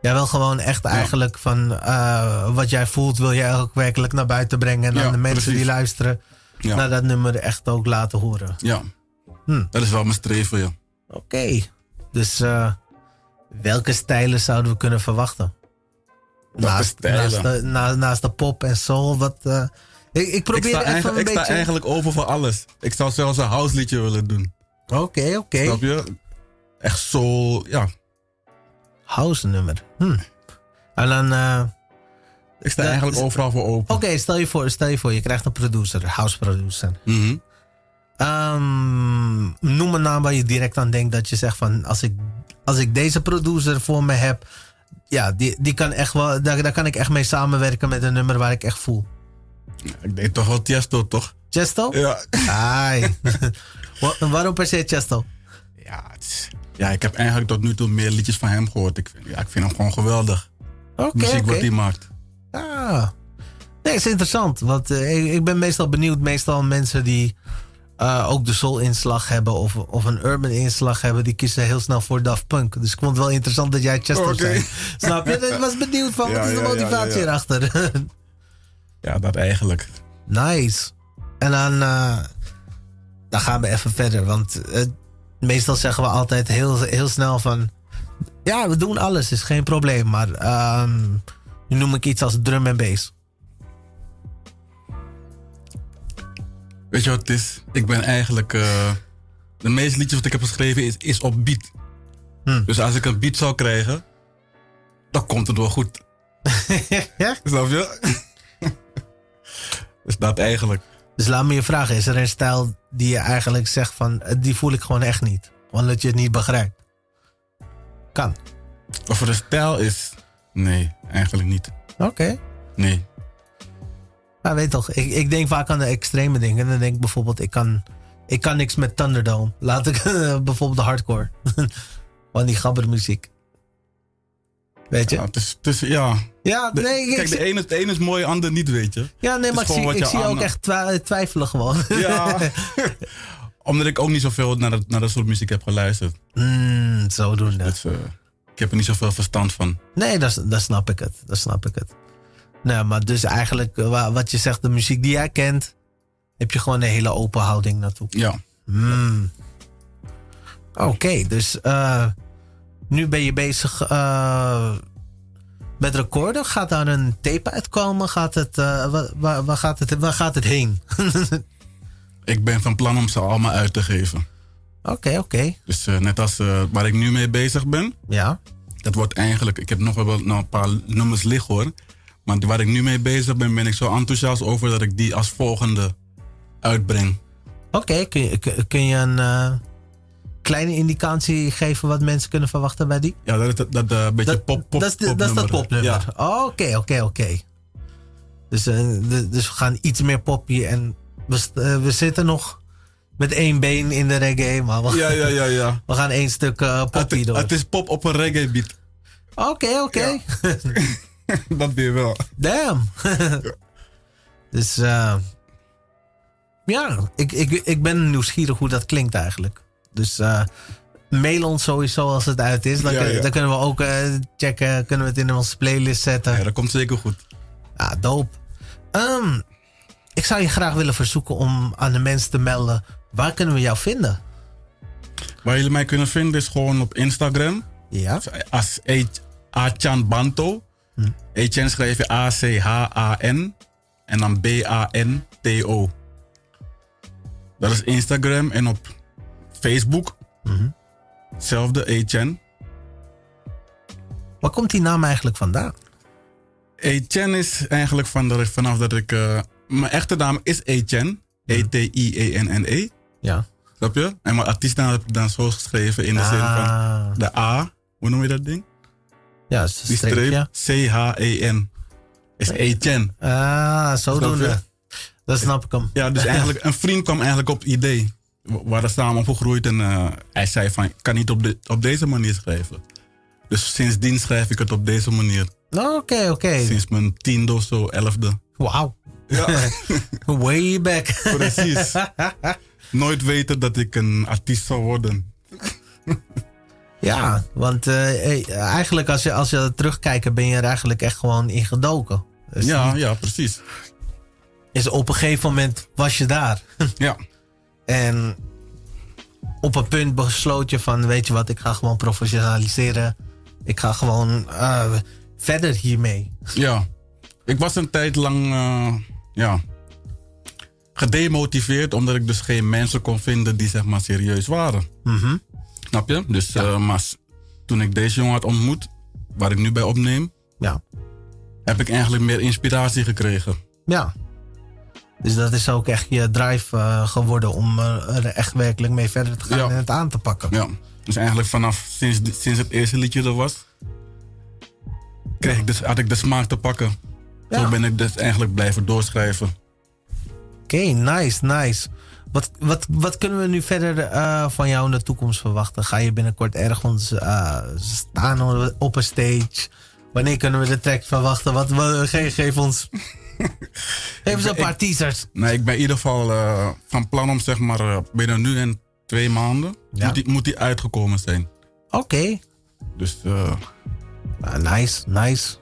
Jij wil gewoon echt eigenlijk van eh, wat jij voelt, wil jij ook werkelijk naar buiten brengen. En Ja, aan de mensen die precies. luisteren Ja, naar dat nummer echt ook laten horen. ja. Hm. dat is wel mijn streven, ja. Oké. Dus eh, welke stijlen zouden we kunnen verwachten? Welke naast, stijlen? Naast de, na- naast de pop en soul, wat, eh, Ik, ik Ik probeer sta, even eigenlijk, een ik sta beetje... eigenlijk over voor alles. Ik zou zelfs een house liedje willen doen. Oké, oké. Snap je? Echt zo, ja. House nummer. Hm. En dan... eh, Ik sta Dat eigenlijk is- Oh. overal voor open. Oké, stel, je voor, stel je voor, je krijgt een producer, house producer. Mhm. Ehm, noem een naam waar je direct aan denkt dat je zegt van als ik, als ik deze producer voor me heb, ja, die, die kan echt wel, daar, daar kan ik echt mee samenwerken met een nummer waar ik echt voel. Ik denk toch wel Tiesto, toch? Chesto? Ja. Ai. Wa- Waarom per se Chesto? Ja, het is- ja, ik heb eigenlijk tot nu toe meer liedjes van hem gehoord. Ik vind, ja, ik vind hem gewoon geweldig. Oké, Muziek oké. wat hij maakt. Ah. Nee, is interessant. Want eh, ik, ik ben meestal benieuwd. Meestal mensen die eh, ook de soul-inslag hebben of, of een urban-inslag hebben, die kiezen heel snel voor Daft Punk. Dus ik vond het wel interessant dat jij Chester Oké. zei. Snap je? Ik was benieuwd van, Ja, wat is de ja, ja, motivatie ja. erachter? Ja, dat eigenlijk. nice. En dan, eh, dan gaan we even verder. Want eh, meestal zeggen we altijd heel, heel snel van... Ja, we doen alles, is geen probleem. Maar ehm, nu noem ik iets als drum en bass. Weet je wat het is? Ik ben eigenlijk... eh, de meeste liedjes wat ik heb geschreven is, is op beat. Hm. Dus als ik een beat zou krijgen, dan komt het wel goed. ja? Snap je? dus dat eigenlijk. Dus laat me je vragen, is er een stijl die je eigenlijk zegt van, eh, die voel ik gewoon echt niet? Omdat je het niet begrijpt. Kan. Of er een stijl is... Nee, eigenlijk niet. Oké. Nee. Ja, weet toch, ik, ik denk vaak aan de extreme dingen. Dan denk ik bijvoorbeeld, ik kan, ik kan niks met Thunderdome. Laat ik eh, bijvoorbeeld de hardcore. Van die gabbermuziek. Weet je? Ja, Nou, het is, het is- ja. Ja, De- nee, ik, Kijk, de ene, het ene is mooi, de ander niet, weet je. ja, nee is maar ik gewoon zie, wat ik je zie je aan- ook echt twa- twijfelen gewoon. Ja. Omdat ik ook niet zoveel naar, dat- naar dat soort muziek heb geluisterd. Mm, zodoende. Dus, eh, ik heb er niet zoveel verstand van. Nee, dat, dat snap ik het. Dat snap ik het. Nou, maar dus eigenlijk eh, wa- wat je zegt, de muziek die jij kent, heb je gewoon een hele open houding naartoe. Ja. Hmm. Oké, dus eh, nu ben je bezig eh, met recorden. Gaat daar een tape uitkomen? Gaat het, eh, wa- waar, waar, gaat het, waar gaat het heen? Oké, Ik ben van plan om ze allemaal uit te geven. oké. Dus eh, net als eh, waar ik nu mee bezig ben. Ja. Dat wordt eigenlijk... Ik heb nog wel nou, een paar nummers liggen hoor. Maar waar ik nu mee bezig ben, ben ik zo enthousiast over dat ik die als volgende uitbreng. Oké, kun, je- kun- kun je een eh, kleine indicatie geven wat mensen kunnen verwachten bij die? Ja, dat is dat, dat, eh, beetje pop, pop, dat, is de- dat is dat popnummer. Ja. Oh, Oké, oké, oké. Dus, eh, de- dus we gaan iets meer poppie. En we, st- eh, we zitten nog met één been in de reggae. Maar we, ja, ja, ja, ja. we gaan één stuk eh, Het, poppie door. het is pop op een reggae beat. Oké, oké. dat weer wel. Damn. dus eh, ja, ik, ik, ik ben nieuwsgierig hoe dat klinkt eigenlijk. Dus eh, mail ons sowieso als het uit is. Dan, Ja, kun- ja. dan kunnen we ook eh, checken. Kunnen we het in onze playlist zetten. Ja, dat komt zeker goed. Ja, doop. Ah, Ehm, ik zou je graag willen verzoeken om aan de mensen te melden. Waar kunnen we jou vinden? Waar jullie mij kunnen vinden is gewoon op Instagram. Ja. Als E- Achan Banto. Achan schrijf je A-C-H-A-N. En dan B-A-N-T-O. Dat is Instagram. En op Facebook. Zelfde Achan. Waar komt die naam eigenlijk vandaan? Achan is eigenlijk van dat ik, vanaf dat ik... eh, mijn echte naam is E Achan. E-T-I-E-N-N-E. Ja. E. Snap je? En mijn artiestnaam heb ik dan zo geschreven in de zin van... Ah, De A. Hoe noem je dat ding? ja, is een Die streepje. streep. C-H-E-N. Is Achan. Ah, Snap zodoende. Dat snap ik hem. Ja, dus eigenlijk een vriend kwam eigenlijk op het idee. We we hadden samen opgegroeid en eh, hij zei van, ik kan niet op, de, op deze manier schrijven. Dus sindsdien schrijf ik het op deze manier. Oké, oké. Sinds mijn tiende of zo, elfde. Wauw. Ja, Way back. precies. Nooit weten dat ik een artiest zou worden. Ja, want eh, eh, eigenlijk als je, als je terugkijkt, ben je er eigenlijk echt gewoon in gedoken. Dus Ja, ja, precies. is op een gegeven moment was je daar. Ja, En op een punt besloot je van, weet je wat, ik ga gewoon professionaliseren. Ik ga gewoon eh, verder hiermee. ja. Ik was een tijd lang, eh, ja, gedemotiveerd omdat ik dus geen mensen kon vinden die zeg maar serieus waren. Mhm. Snap je? Dus eh, maar s- toen ik deze jongen had ontmoet, waar ik nu bij opneem, Ja. heb ik eigenlijk meer inspiratie gekregen. Ja. Dus dat is ook echt je drive eh, geworden om eh, er echt werkelijk mee verder te gaan Ja. en het aan te pakken. Ja. Dus eigenlijk vanaf sinds, di- sinds het eerste liedje er was, kreeg ik dus, had ik de smaak te pakken. Ja. Zo ben ik dus eigenlijk blijven doorschrijven. Oké, nice, nice. Wat, wat, wat kunnen we nu verder eh, van jou in de toekomst verwachten? Ga je binnenkort ergens eh, staan op een stage? Wanneer kunnen we de track verwachten? Wat, wat- ge- geef ons. Geef ons een paar teasers. Nee, ik ben in ieder geval eh, van plan om zeg maar eh, binnen nu en twee maanden Ja. moet, die, moet die uitgekomen zijn. Oké. Dus eh, Ah, nice, nice.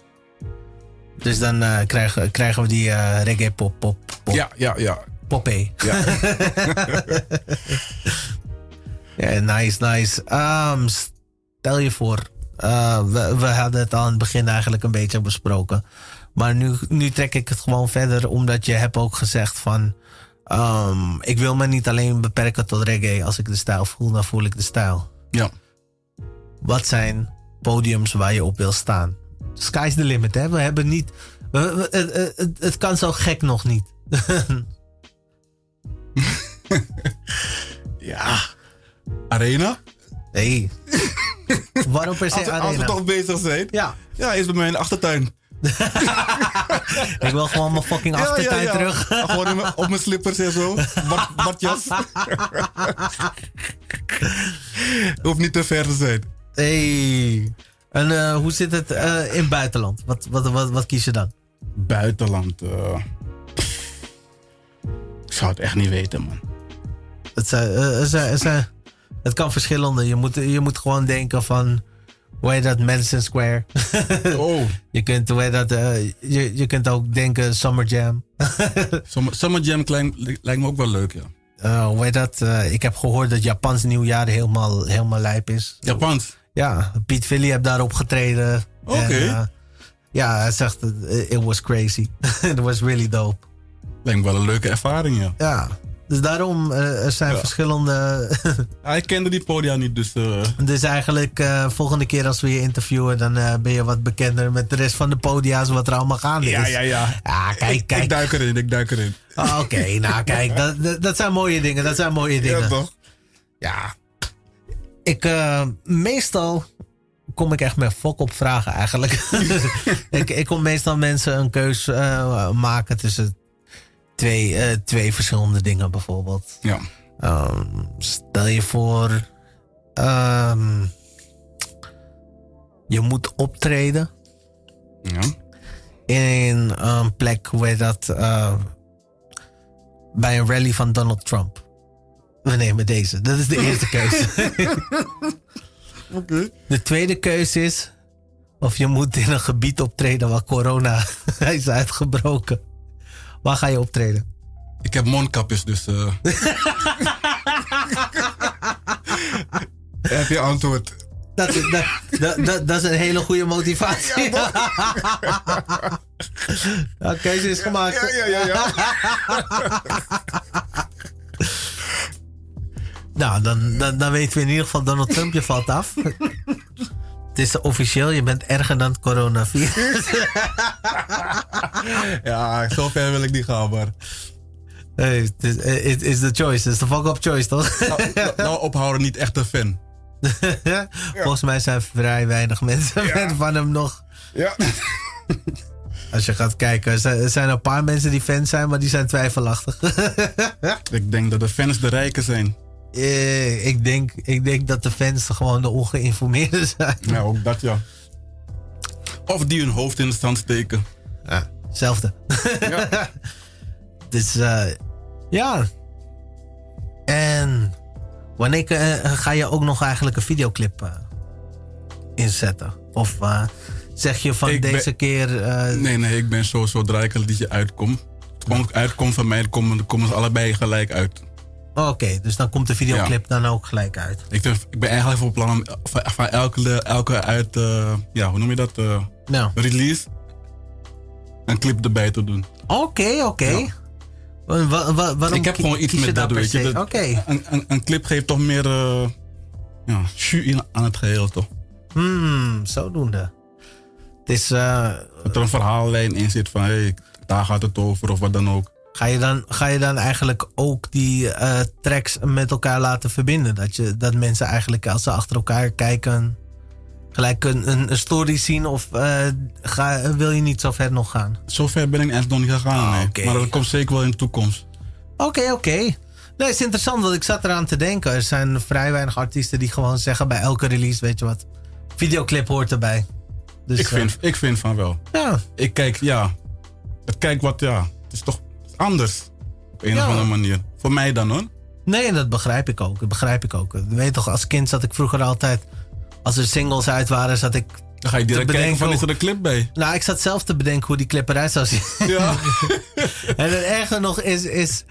Dus dan eh, krijgen, krijgen we die eh, reggae pop, pop, pop, ja, ja, ja. poppy. ja. Ja, nice, nice. Ehm, stel je voor, eh, we, we hadden het al in het begin eigenlijk een beetje besproken. Maar nu, nu trek ik het gewoon verder, omdat je hebt ook gezegd van... ehm, ik wil me niet alleen beperken tot reggae. Als ik de stijl voel, dan voel ik de stijl. ja. Wat zijn podiums waar je op wil staan? Sky's the limit, hè? We hebben niet... we- we- het- het- het- het kan zo gek nog niet. Ja. Arena? Nee. Waarom per se Als we, als we arena? toch bezig zijn. Ja, Ja, is bij mij in de achtertuin. ik wil gewoon mijn fucking Ja, achtertuin ja, ja. terug. Gewoon in mijn- op mijn slippers en zo. Bad- Badjas. Hoeft niet te ver te zijn. Hey. En eh, hoe zit het eh, in het buitenland? Wat, wat, wat, wat kies je dan? Buitenland. eh, pff. Ik zou het echt niet weten, man. Het, zijn- eh, het zijn- het zijn- het kan verschillende. Je moet, je moet gewoon denken van... Hoe heet dat? Madison Square. Oh, je, kunt, hoe heet dat, eh, je, je kunt ook denken Summer Jam. Summer, Summer Jam klinkt- lijkt me ook wel leuk, ja. Eh, hoe heet dat? Eh, ik heb gehoord dat Japans nieuwjaar helemaal, helemaal lijp is. Japans. Ja, Piet Villy heb daarop getreden. Oké. En, eh, ja, hij zegt, eh, it was crazy. It was really dope. Lijkt me wel een leuke ervaring, ja. Ja, dus daarom, eh, er zijn Ja. verschillende... Hij kende die podia niet, dus... eh, dus eigenlijk, eh, volgende keer als we je interviewen... dan eh, ben je wat bekender met de rest van de podia's... wat er allemaal gaande ja, is. ja, ja. Ah, kijk, dus Ik, ik kijk. duik erin, ik duik erin. Ah, Oké, nou kijk, dat, dat, dat zijn mooie dingen. Dat zijn mooie dingen. Ja, toch? Ja. Ik, eh, meestal kom ik echt met fok op vragen eigenlijk. ik, ik kom meestal mensen een keus eh, maken tussen twee, eh, twee verschillende dingen bijvoorbeeld. Ja. Ehm, stel je voor, ehm, je moet optreden Ja. in een plek waar dat eh, bij een rally van Donald Trump. We nemen deze. Dat is de eerste keus. Oké. De tweede keus is of je moet in een gebied optreden waar corona is uitgebroken. Waar ga je optreden? Ik heb mondkapjes, dus. eh. heb je antwoord? Dat, dat, dat, dat, dat is een hele goede motivatie. Ja, keuze is gemaakt. Ja, ja, ja. ja. Nou, dan, dan, dan weten we in ieder geval Donald Trump, je valt af. Het is officieel, je bent erger dan het coronavirus. ja zo ver Ah, wil ik niet gaan, maar. Hey, het is het is de choice, het is de fuck-up choice, toch? Nou, nou, nou ophouden, niet echt een fan. Volgens mij zijn vrij weinig mensen fan van hem nog. Ja. Als je gaat kijken, er zijn- er zijn een paar mensen die fan zijn, maar die zijn twijfelachtig. Ik denk dat de fans de rijken zijn. Eh, ik, denk, ik denk dat de fans gewoon de ongeïnformeerden zijn. Ja, ook dat ja. Of die hun hoofd in de stand steken. Hetzelfde. Ja. Dus eh, ja. En wanneer eh, ga je ook nog eigenlijk een videoclip eh, inzetten? Of eh, zeg je van Ik ben- deze keer... eh, Nee, nee, ik ben zo zodra ik een liedje uitkom. Het komt- uitkomt van mij, dan komen, dan komen ze allebei gelijk uit. Oké, dus dan komt de videoclip dan ook gelijk uit. Ik ben, ik ben eigenlijk van plan om van, van elke, elke uit, eh, ja, hoe noem je dat? eh, Nou, release een clip erbij te doen. oké, oké. Ja. Wa- wa- wa- waarom ik heb ki- gewoon iets kies je met daar dat, per weet je. se? Dat- Oké. een, een, een clip geeft toch meer eh ja, jus in- aan het geheel, toch? Hmm, zodoende. Het is, eh, Dat er een verhaallijn in zit van, hey, daar gaat het over of wat dan ook. ga, je dan, ga je dan eigenlijk ook die eh, tracks met elkaar laten verbinden? Dat, je, dat mensen eigenlijk als ze achter elkaar kijken, gelijk een, een, een story zien? Of eh, ga, wil je niet zo ver nog gaan? Zover ben ik echt nog niet gegaan, Ah, nee. oké. Maar dat komt zeker wel in de toekomst. Oké, oké. Nee, het is interessant, want ik zat eraan te denken. Er zijn vrij weinig artiesten die gewoon zeggen bij elke release, weet je wat, videoclip hoort erbij. Dus, ik, vind, ik vind van wel. eh, ja, Ik kijk, ja. Ik kijk wat, ja. Het is toch anders. Op een Ja. of andere manier. Voor mij dan, hoor. nee, en dat begrijp ik ook. Dat begrijp ik ook. Je Weet toch, als kind zat ik vroeger altijd, als er singles uit waren, zat ik... Dan ga je direct kijken bedenken van, is ook. er een clip bij? Nou, ik zat zelf te bedenken hoe die clip eruit zou zien. Ja. En het erger nog is, is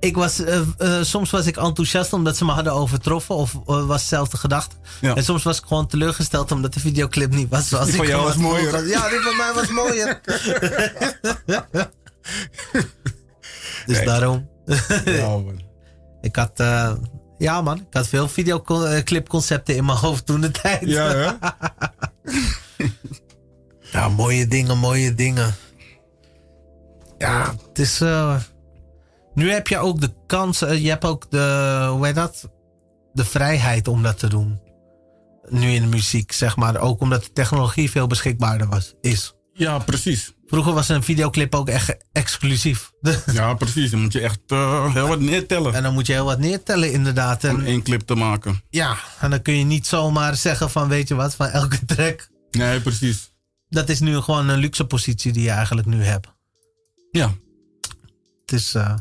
ik was, eh, eh, soms was ik enthousiast omdat ze me hadden overtroffen of eh, was zelf de gedachte. Ja. En soms was ik gewoon teleurgesteld omdat de videoclip niet was zoals Die ik van jou hem was had mooier. voorgesteld. Ja, die van mij was mooier. dus Nee. daarom. ja man. Ik had, eh, ja man, ik had veel videoclipconcepten in mijn hoofd toen de tijd. Ja, hè? Ja, mooie dingen, mooie dingen. Ja, het is. eh, nu heb je ook de kans, eh, je hebt ook de, hoe heet dat? De vrijheid om dat te doen. Nu in de muziek, zeg maar. Ook omdat de technologie veel beschikbaarder was, is. Ja, precies. Vroeger was een videoclip ook echt exclusief. Ja, precies. Dan moet je echt eh, heel wat neertellen. en dan moet je heel wat neertellen, inderdaad. Om En, één clip te maken. ja, en dan kun je niet zomaar zeggen van, weet je wat, van elke track. Nee, precies. Dat is nu gewoon een luxe positie die je eigenlijk nu hebt. Ja. Het is, eh,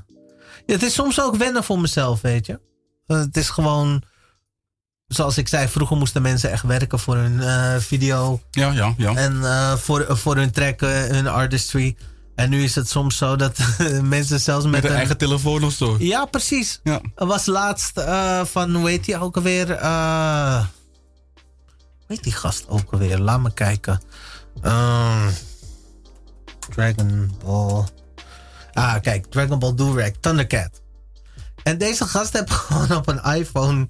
ja, het is soms ook wennen voor mezelf, weet je. Eh, het is gewoon, zoals ik zei, vroeger moesten mensen echt werken voor hun eh, video Ja, ja, ja. en eh, voor, voor hun track, eh, hun artistry. En nu is het soms zo dat mensen zelfs met, Met een een- eigen telefoon of zo. Ja, precies. Ja. Er was laatst eh, van, hoe heet die ook alweer? Eh, hoe heet die gast ook alweer? Laat me kijken. Ehm, Dragon Ball. Ah, kijk, Dragon Ball Durag, Thundercat. En deze gast heeft gewoon op een iPhone.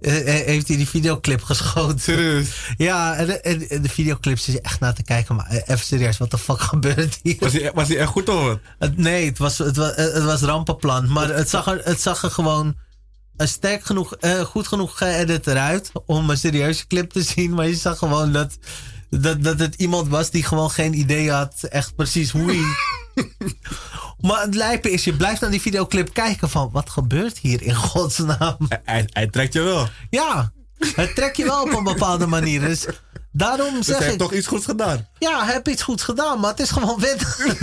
eh, eh, heeft hij die videoclip geschoten? Serieus. Ja, en, en- en de videoclip zit je echt naar te kijken, maar eh, even serieus, wat de fuck gebeurt hier? Was hij, was hij echt goed of wat? Het- nee, het was, het, was, het was rampenplan. Maar het zag er, het zag er gewoon eh, sterk genoeg, eh, goed genoeg geëdit eruit om een serieuze clip te zien. Maar je zag gewoon dat, dat, dat het iemand was die gewoon geen idee had echt precies hoe hij... maar het lijpen is, je blijft naar die videoclip kijken van wat gebeurt hier in godsnaam? Hij, hij, hij trekt je wel. Dus Ja, het trekt je wel op een bepaalde manier. Dus daarom zeg hij ik... heeft toch iets goeds gedaan. Ja, heb iets goed gedaan, maar het is gewoon wit.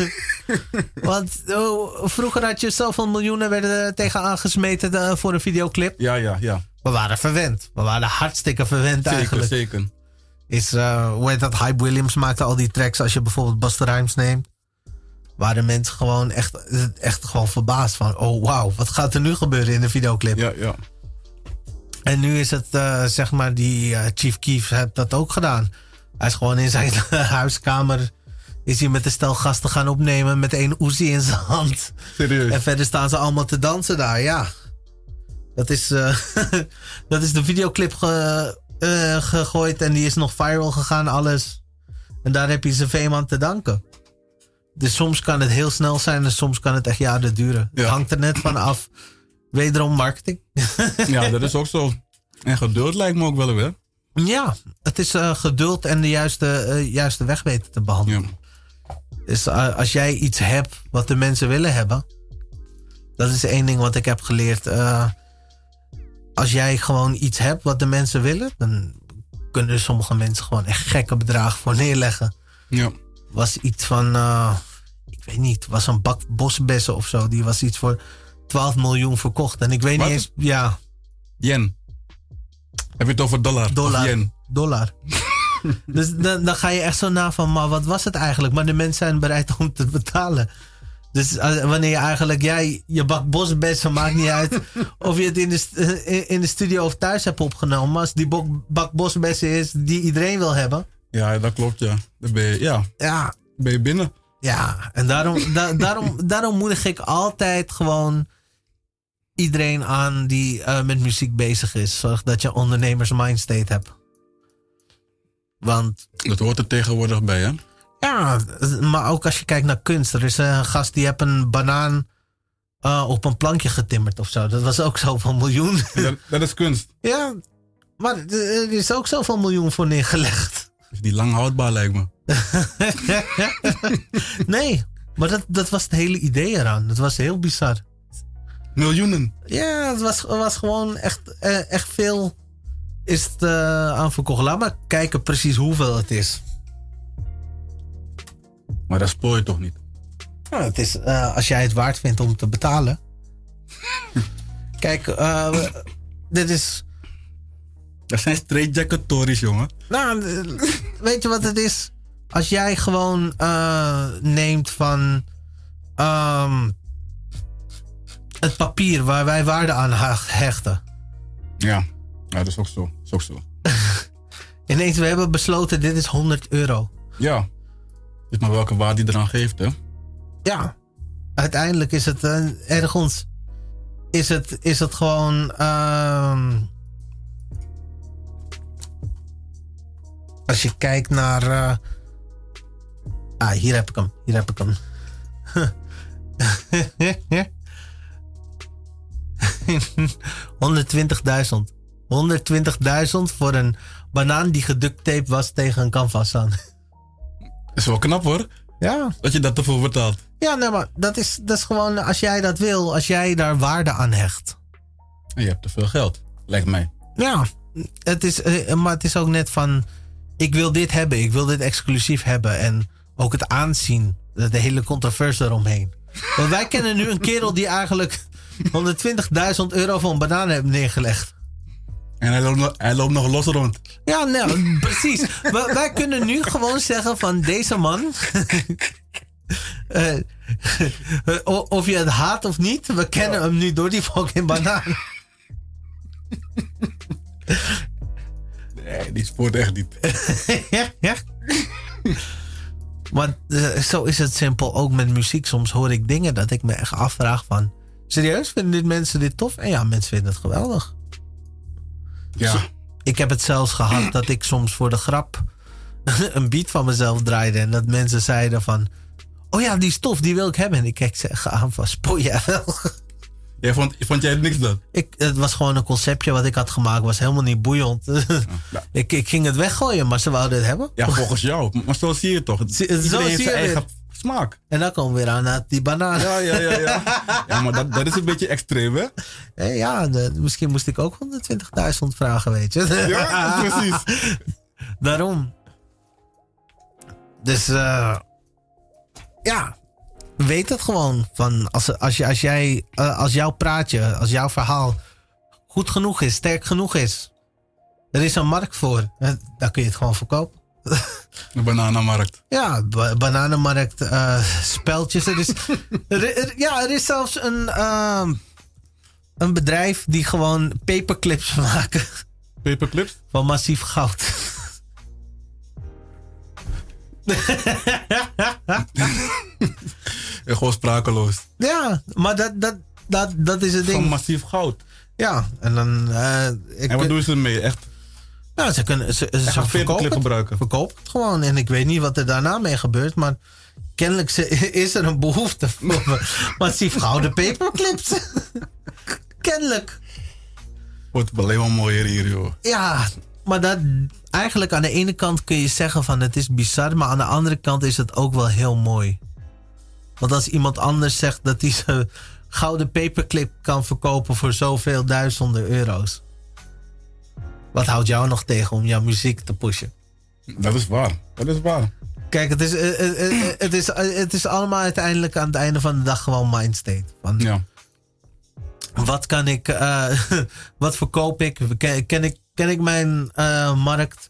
Want oh, vroeger had je zoveel miljoenen werden er tegenaan gesmeten eh, voor een videoclip. Ja, ja, ja. We waren verwend. We waren hartstikke verwend Zeker, eigenlijk. zeker. Is, eh, hoe heet dat? Hype Williams maakte al die tracks. Als je bijvoorbeeld Busta Rhymes neemt. Waren mensen gewoon echt, echt gewoon verbaasd van... Oh, wauw. Wat gaat er nu gebeuren in de videoclip? Ja, ja. En nu is het, eh, zeg maar, die eh, Chief Keef heeft dat ook gedaan. Hij is gewoon in zijn huiskamer. Is hij met een stel gasten gaan opnemen met één Uzi in zijn hand. En Serieus. verder staan ze allemaal te dansen daar, ja. Dat is, eh, dat is de videoclip ge- eh, gegooid en die is nog viral gegaan, alles. En daar heb je zijn fame aan te danken. Dus soms kan het heel snel zijn en soms kan het echt jaren duren. Ja. Het hangt er net van af. Wederom marketing. Ja, dat is ook zo. En geduld lijkt me ook wel weer. Ja, het is eh, geduld en de juiste, eh, juiste weg weten te behandelen. Ja. Dus eh, als jij iets hebt wat de mensen willen hebben, dat is één ding wat ik heb geleerd. Eh, als jij gewoon iets hebt wat de mensen willen, dan kunnen sommige mensen gewoon echt gekke bedragen voor neerleggen. ja. Was iets van, eh, ik weet niet, was een bak bosbessen of zo. Die was iets voor 12 miljoen verkocht. En ik weet Wat? niet eens, ja, Yen. Heb je het over dollar? Dollar. Of yen? dollar. dus dan, dan ga je echt zo na van, maar wat was het eigenlijk? Maar de mensen zijn bereid om te betalen. Dus eh, wanneer je eigenlijk, jij, je bak bosbessen, maakt niet uit of je het in de, st- eh, in de studio of thuis hebt opgenomen. Maar als die bok- bak bosbessen is die iedereen wil hebben, Ja, dat klopt, ja. Dan ben je, ja, ja, ben je binnen. Ja, en daarom, da- daarom, daarom moedig ik altijd gewoon iedereen aan die eh, met muziek bezig is. Zorg dat je ondernemers mindstate hebt. Want Dat hoort er tegenwoordig bij, hè? Ja, maar ook als je kijkt naar kunst. Er is een gast die heeft een banaan eh, op een plankje getimmerd of zo. Dat was ook zoveel miljoen. Dat, dat is kunst. ja, maar er is ook zoveel miljoen voor neergelegd. Is niet lang houdbaar, lijkt me. nee, maar dat, dat was het hele idee eraan. Dat was heel bizar. Miljoenen. Ja, het was, was gewoon echt, eh, echt veel is het, eh, aan verkocht. Laat maar kijken precies hoeveel het is. Maar dat spoor je toch niet? Nou, het is eh, als jij het waard vindt om te betalen. Kijk, eh, we- dit is. Dat zijn straightjacket tories, jongen. Nou, eh, weet je wat het is? Als jij gewoon eh, neemt van. ehm, het papier waar wij waarde aan ha- hechten. Ja. ja, dat is ook zo. Dat is ook zo. Ineens, we hebben besloten: dit is 100 euro. Ja. Is maar welke waarde die eraan geeft, hè? Ja, uiteindelijk is het eh, ergens. Is het, is het gewoon. ehm, als je kijkt naar. eh, ah, hier heb ik hem. Hier heb ik hem. ...120.000. 120.000 voor een banaan die geduct tape was tegen een canvas aan. Is wel knap, hoor. Ja. Dat je dat ervoor betaalt. Ja, nee, maar dat is, dat is gewoon als jij dat wil, als jij daar waarde aan hecht. En je hebt te veel geld, lijkt mij. Ja, het is, eh, maar het is ook net van, ik wil dit hebben, ik wil dit exclusief hebben. En ook het aanzien, de de hele controverse eromheen. Want wij kennen nu een kerel die eigenlijk 120.000 euro voor een banaan heeft neergelegd. En hij loopt, nog- hij loopt nog los rond. Ja, nou, precies. Wij, wij kunnen nu gewoon zeggen van deze man. eh, o- of je het haat of niet, we kennen hem nu door die fucking banaan. Nee, die spoort echt niet. ja, ja. Want eh, zo is het simpel. Ook met muziek. Soms hoor ik dingen dat ik me echt afvraag van... Serieus, vinden dit mensen dit tof? En ja, mensen vinden het geweldig. Ja. Ik heb het zelfs gehad dat ik soms voor de grap een beat van mezelf draaide. En dat mensen zeiden van... Oh ja, die stof, die wil ik hebben. En ik kijk ze echt aan van, spoor jij wel? Jij vond, vond jij het niks dan? Ik, het was gewoon een conceptje wat ik had gemaakt. was helemaal niet boeiend. Ja. ik, ik ging het weggooien, maar ze wouden het hebben. Ja, volgens jou. Maar zo zie je het toch. Het- Zie- zo Iedereen heeft zie zijn je eigen smaak. En dan komen we weer aan naar die banaan. Ja, ja, ja. Ja, ja maar dat, dat is een beetje extreem, hè? Hé, ja, de- misschien moest ik ook 120.000 vragen, weet je. Ja, precies. Daarom. Dus eh, ja, weet het gewoon. Van als, als, je, als, jij, eh, als jouw praatje, als jouw verhaal goed genoeg is, sterk genoeg is. Er is een markt voor. eh, Daar kun je het gewoon verkopen. De bananenmarkt. Ja, ba- bananenmarkt, eh speltjes. Er is, er- er- ja, er is zelfs een, ehm, een bedrijf die gewoon paperclips maken Paperclips? van massief goud. Ja, gewoon sprakeloos. Ja, maar dat, dat, dat, dat is het Van ding. massief goud. Ja, en dan... eh, ik, En wat doen ze ermee? Echt, Nou, ze kunnen... Ze, ze, echt een verkopen paperclip het. gebruiken. Verkopen het gewoon. En ik weet niet wat er daarna mee gebeurt, maar... Kennelijk ze- is er een behoefte voor massief gouden paperclips. kennelijk. Wordt alleen maar mooier hier, joh. Ja, maar dat... Eigenlijk aan de ene kant kun je zeggen van het is bizar, maar aan de andere kant is het ook wel heel mooi. Want als iemand anders zegt dat hij zijn gouden paperclip kan verkopen voor zoveel duizenden euro's. Wat houdt jou nog tegen om jouw muziek te pushen? Dat is waar. Dat is waar. Kijk, het is, eh, eh, eh, eh, het is, eh, het is allemaal uiteindelijk aan het einde van de dag gewoon mindstate. Van, Ja. wat kan ik, eh, wat verkoop ik? Ken, ken ik, ken ik mijn eh, markt?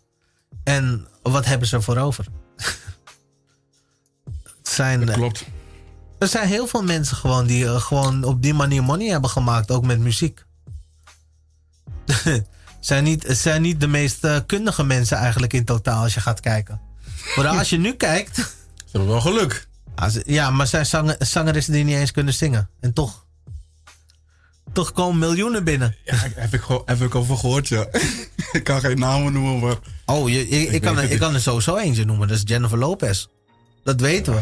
En wat hebben ze ervoor over? Het zijn, Klopt. er zijn heel veel mensen gewoon die eh, gewoon op die manier money hebben gemaakt, ook met muziek. zijn, niet, het zijn niet de meest eh, kundige mensen eigenlijk in totaal als je gaat kijken. Maar als je nu kijkt, Ze hebben wel geluk. Ah, ze- Ja, maar zijn zanger, zangeressen die niet eens kunnen zingen. En toch. Toch komen miljoenen binnen. Ja, heb ik, geho- heb ik over gehoord, ja. ik kan geen namen noemen, maar... Oh, je, ik, ik, kan, er- weet het ik niet. kan er sowieso eentje noemen. Dat is Jennifer Lopez. Dat weten we.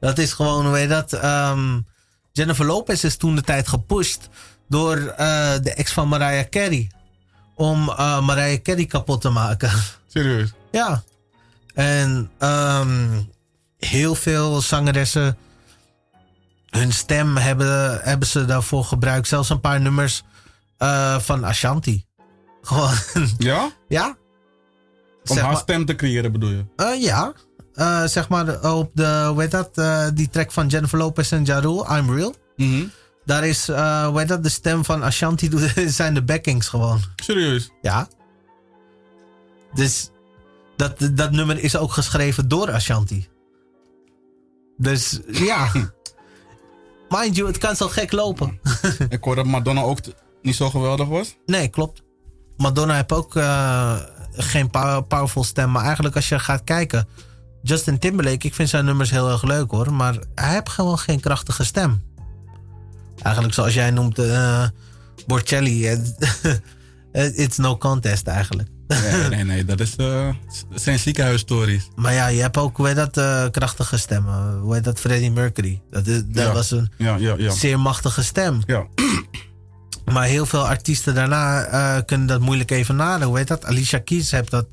Dat is gewoon, hoe heet dat? ehm, Jennifer Lopez is toen de tijd gepusht door eh, de ex van Mariah Carey. Om eh, Mariah Carey kapot te maken. Serieus. Ja. En ehm, heel veel zangeressen, hun stem hebben, hebben ze daarvoor gebruikt. Zelfs een paar nummers eh, van Ashanti. Gewoon, Ja? ja. Om Zeg haar maar, stem te creëren, bedoel je? eh, ja. Eh, zeg maar op de, hoe heet dat? eh, die track van Jennifer Lopez en Ja Rule, I'm Real. Daar is, eh hoe heet dat? De stem van Ashanti doet- zijn de backings gewoon. Serieus? Ja. Dus dat, dat nummer is ook geschreven door Ashanti. Dus ja. Mind you, het kan zo gek lopen. ik hoor dat Madonna ook t- niet zo geweldig was. Nee, klopt. Madonna heeft ook eh, geen pow- powerful stem. Maar eigenlijk als je gaat kijken... Justin Timberlake, ik vind zijn nummers heel erg leuk hoor. Maar hij heeft gewoon geen krachtige stem. Eigenlijk zoals jij noemt... eh Borcelli. eh, It's no contest eigenlijk. Nee, nee, nee. Dat is, eh, s- dat zijn ziekenhuisstories. Maar ja, je hebt ook, hoe heet dat, eh, krachtige stemmen. Hoe heet dat, Freddie Mercury. Dat, is, dat Ja. was een Ja, ja, ja. zeer machtige stem. Ja. Maar heel veel artiesten daarna eh, kunnen dat moeilijk even nadenken. Hoe heet dat? Alicia Keys heeft dat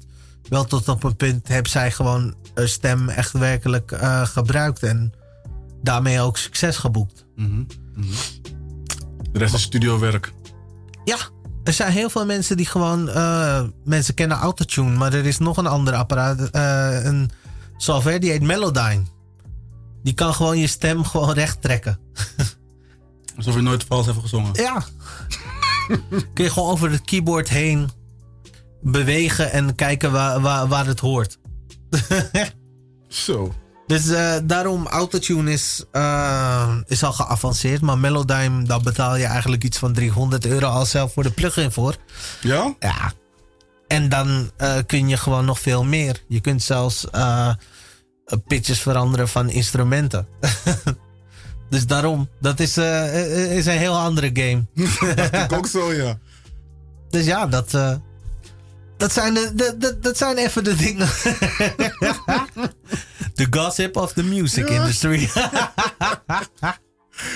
wel tot op een punt... heeft zij gewoon haar stem echt werkelijk eh, gebruikt. En daarmee ook succes geboekt. Mhm, mhm. De rest is studiowerk. Ja, er zijn heel veel mensen die gewoon... eh, mensen kennen autotune, maar er is nog een ander apparaat. eh, een software, die heet Melodyne. Die kan gewoon je stem gewoon recht trekken. Alsof je nooit vals hebt gezongen. Ja. Kun je gewoon over het keyboard heen bewegen en kijken waar, waar, waar het hoort. Zo. Dus eh, daarom, autotune is, eh, is al geavanceerd. Maar Melodyne, daar betaal je eigenlijk iets van 300 euro al zelf voor de plugin voor. Ja? Ja. En dan eh, kun je gewoon nog veel meer. Je kunt zelfs eh, eh, pitches veranderen van instrumenten. dus daarom, dat is, eh, eh, is een heel andere game. Ik ook zo, ja. Dus ja, dat, eh, dat, zijn de, de, de- dat zijn even de dingen. the gossip of the music industry.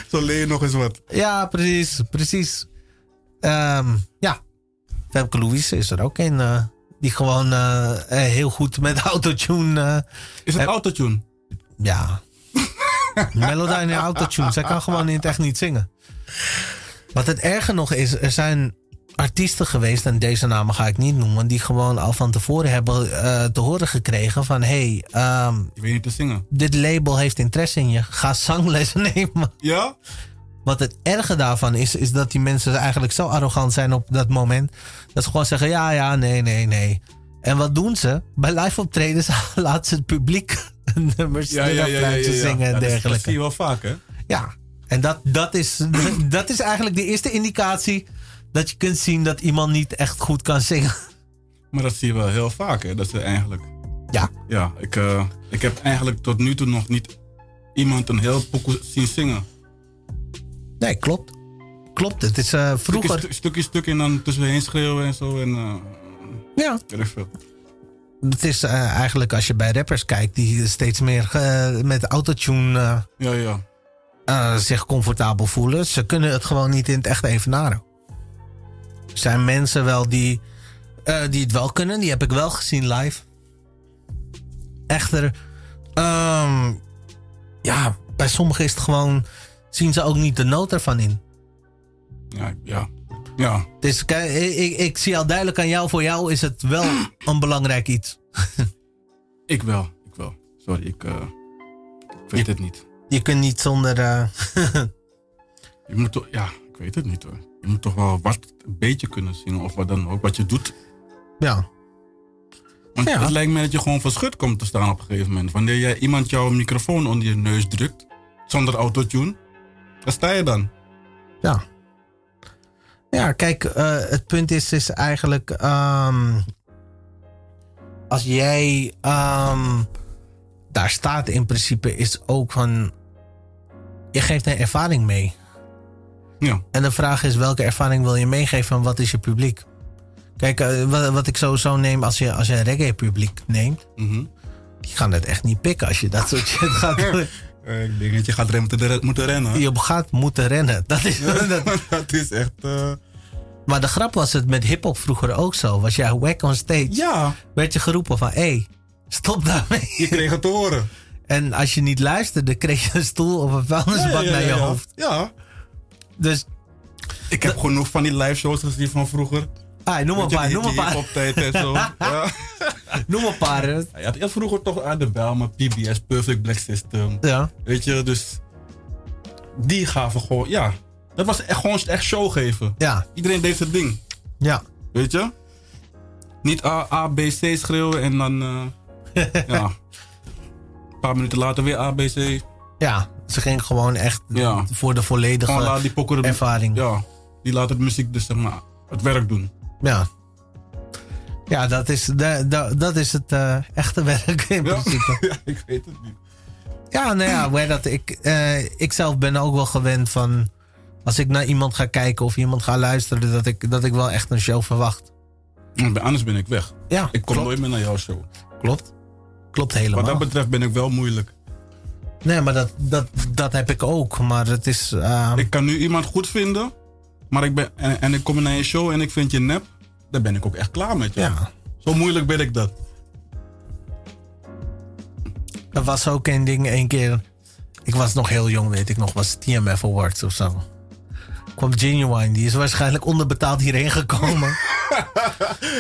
Zo leer je nog eens wat. ja, precies, precies. Ehm, ja, Femke Louise is er ook een. eh, die gewoon eh, eh, heel goed met autotune... eh, Is het autotune? Ja. Melodyne en autotune. Zij kan gewoon in het echt niet zingen. Wat het erger nog is, er zijn artiesten geweest, en deze namen ga ik niet noemen, die gewoon al van tevoren hebben eh, te horen gekregen van hey, ehm, Ik weet niet te zingen. dit label heeft interesse in je, ga zanglessen nemen. Ja? Wat het erge daarvan is, is dat die mensen eigenlijk zo arrogant zijn op dat moment, dat ze gewoon zeggen ja, ja, nee, nee, nee. En wat doen ze? Bij live optredens laten ze het publiek nummers ja, zingen en Ja, dat is- Dat dergelijke. zie je wel vaak, hè? Ja, en dat, dat, is, dat is eigenlijk de eerste indicatie dat je kunt zien dat iemand niet echt goed kan zingen. Maar dat zie je wel heel vaak, hè? Dat is eigenlijk. Ja. Ja, ik, eh, ik heb eigenlijk tot nu toe nog niet iemand een heel pokoe zien zingen. Nee, klopt. Klopt, het is eh, vroeger. Stukje, stukje, stukje en dan tussenheen schreeuwen en zo. En, eh, Ja. weet ik veel. Het is eh, eigenlijk als je bij rappers kijkt die steeds meer eh, met autotune eh, Ja, ja. eh, zich comfortabel voelen. Ze kunnen het gewoon niet in het echt evenaren. Er zijn mensen wel die, eh, die het wel kunnen. Die heb ik wel gezien live. Echter, ehm, ja, bij sommigen is het gewoon... zien ze ook niet de nood ervan in. Ja, ja. Ja, Dus kijk, ik, ik, ik zie al duidelijk aan jou... voor jou is het wel een belangrijk iets. ik wel. Ik wel. Sorry, ik, eh, ik weet het niet. Je kunt niet zonder... eh, Je moet toch, ja, ik weet het niet hoor. Je moet toch wel wat een beetje kunnen zingen of wat dan ook. Wat je doet. ja, Want Ja. het lijkt me dat je gewoon verschut komt te staan op een gegeven moment. Wanneer jij iemand jouw microfoon onder je neus drukt, zonder autotune, daar sta je dan. Ja. Ja, kijk, eh, het punt is, is eigenlijk. ehm, als jij ehm, daar staat in principe is ook van. Je geeft een ervaring mee. Ja. En de vraag is welke ervaring wil je meegeven en wat is je publiek? Kijk, eh, wat, wat ik sowieso neem als je, als je een reggae publiek neemt, Mhm. die gaan het echt niet pikken als je dat soort shit gaat doen. Eh, ik denk dat je gaat rem moeten, re- moeten rennen. Je gaat moeten rennen. Dat is, dat- dat is echt... eh, maar de grap was het met hip-hop vroeger ook zo. Was jij wack on stage, ja, werd je geroepen van hé, hey, stop daarmee. je kreeg het te horen. En als je niet luisterde, kreeg je een stoel of een vuilnisbak Ja, ja, Dus naar ja, je ja. hoofd. Ja. Dus Ik heb genoeg van die live shows gezien van vroeger. ah, noem maar een Weet je, paar, die- noem maar die een paar. hip-hop-tijd en zo. ja. Noem maar een paar. hè. Je had je had vroeger toch aan de bel met PBS, Perfect Black System. Ja. Weet je, dus die gaven gewoon, ja. Dat was echt gewoon echt show geven. Ja, Iedereen deed zijn ding, ja. weet je? Niet A, A B, C schreeuwen en dan, eh, ja. Een paar minuten later weer A, B, C. Ja, ze ging gewoon echt Ja. voor de volledige Gewoon laat die pokker de, ervaring. Ja. ja, die laat het muziek dus zeg maar het werk doen. ja. dat is, da- da- dat is het eh, echte werk in Ja. principe. ja, ik weet het niet. Ja, nou ja, hoe heet dat, ik, eh, ik zelf ben ook wel gewend van... als ik naar iemand ga kijken of iemand ga luisteren... dat ik, dat ik wel echt een show verwacht. Maar Anders ben ik weg. Ja, Ik kom klopt, nooit meer naar jouw show. klopt. Klopt helemaal. Wat dat betreft ben ik wel moeilijk. Nee, maar dat, dat, dat heb ik ook. Maar het is... eh, Ik kan nu iemand goed vinden, maar ik ben, en, en ik kom naar je show en ik vind je nep, dan ben ik ook echt klaar met je. ja. Zo moeilijk ben ik dat. Er was ook een ding één keer. Ik was nog heel jong, weet ik nog. Was TMF Awards of zo. Kwam Genuine. Die is waarschijnlijk onderbetaald hierheen gekomen.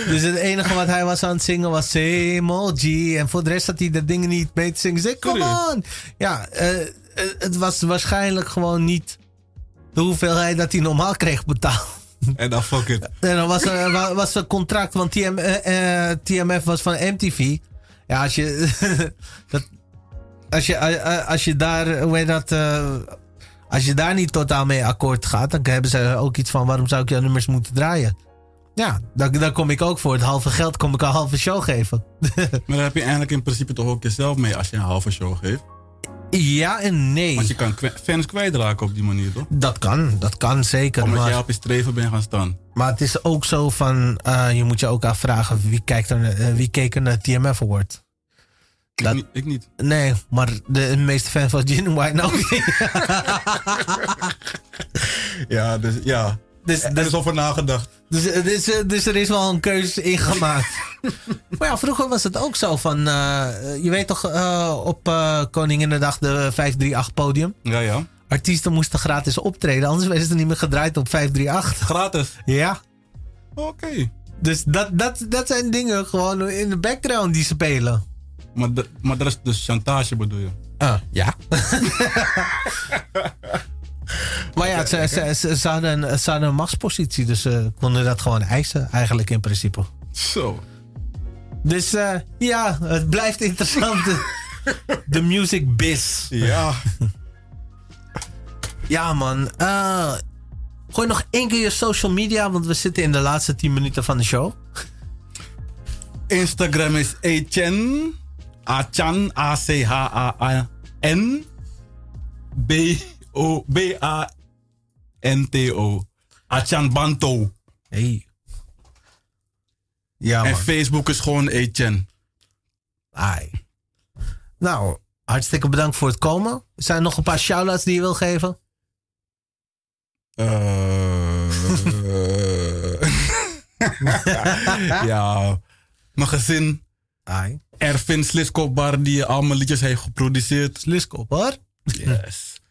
dus het enige wat hij was aan het zingen was Emoji. En voor de rest had hij de dingen niet mee te zingen. Zeg, come Serieus? on! Ja, eh, eh, het was waarschijnlijk gewoon niet de hoeveelheid dat hij normaal kreeg betaald. En dan fuck it. En dan was er eh, wa- was er contract, want TM, eh, eh, TMF was van MTV. Ja, als je. dat, als, je, eh, eh, als je daar. eh, Hoe heet dat? eh, als je daar niet totaal mee akkoord gaat, dan hebben ze ook iets van: waarom zou ik jouw nummers moeten draaien? Ja, dan, dan kom ik ook voor het halve geld, kom ik een halve show geven. Maar daar heb je eigenlijk in principe toch ook jezelf mee als je een halve show geeft. Ja en Want nee. je kan kwe- fans kwijtraken op die manier toch? Dat kan, dat kan zeker. Omdat maar- jij op je streven bent gaan staan. Maar het is ook zo van, eh, je moet je ook afvragen wie, kijkt er, naar- eh, wie keek er naar TMF Award. Ik, Dat- niet, ik niet. Nee, maar de meeste fan van Genuine ook nou niet. Ja, dus ja. Dus, Er is over nagedacht. dus, dus, eh, dus er is wel een keuze in gemaakt. maar ja, vroeger was het ook zo van, eh, je weet toch eh, op eh Koninginnedag de 538 podium. Ja, ja. Artiesten moesten gratis optreden, anders werden ze niet meer gedraaid op 538. Gratis. Ja. Oké. Dus dat, dat, dat zijn dingen gewoon in de background die spelen. Maar, de- maar dat is dus chantage bedoel je? Ah, ja. maar ja, ze, ze, ze, ze hadden een, ze hadden een machtspositie, dus ze konden dat gewoon eisen, eigenlijk in principe. Zo. Dus eh, ja, het blijft interessant. De music biz. Ja. Ja, man. Eh, gooi nog één keer je social media, want we zitten in de laatste 10 minuten van de show. Instagram is Etienne. Achan. A-C-H-A-A-N. B-O. B-A-N-T-O. Achan Banto. Hey. Ja, en man. Facebook is gewoon Etienne. Ai. Nou, hartstikke bedankt voor het komen. Zijn er nog een paar shout-outs die je wil geven? Eh. ja. Mijn gezin. Ai. Ervin Sliskopbar, die al mijn liedjes heeft geproduceerd. Sluskop, hoor. Yes.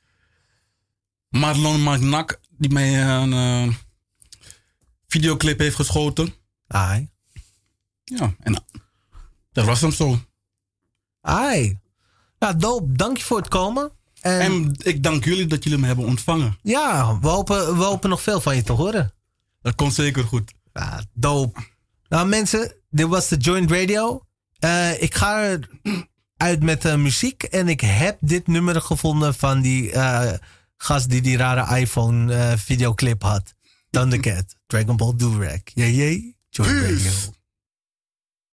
Marlon Magnac, die mij een eh, videoclip heeft geschoten. Ai. Ja, en eh, dat was hem zo. Ai. Nou, doop. Dank je voor het komen. En, En ik dank jullie dat jullie me hebben ontvangen. ja, we hopen, we hopen nog veel van je te horen. Dat komt zeker goed. Ja, doop. Nou, mensen, dit was de Joint Radio. Eh, ik ga uit met eh, muziek. En ik heb dit nummer gevonden van die eh, gast die die rare iPhone eh, videoclip had. Thundercat, Dragon Ball Durag. Jee, jee. Joint Radio.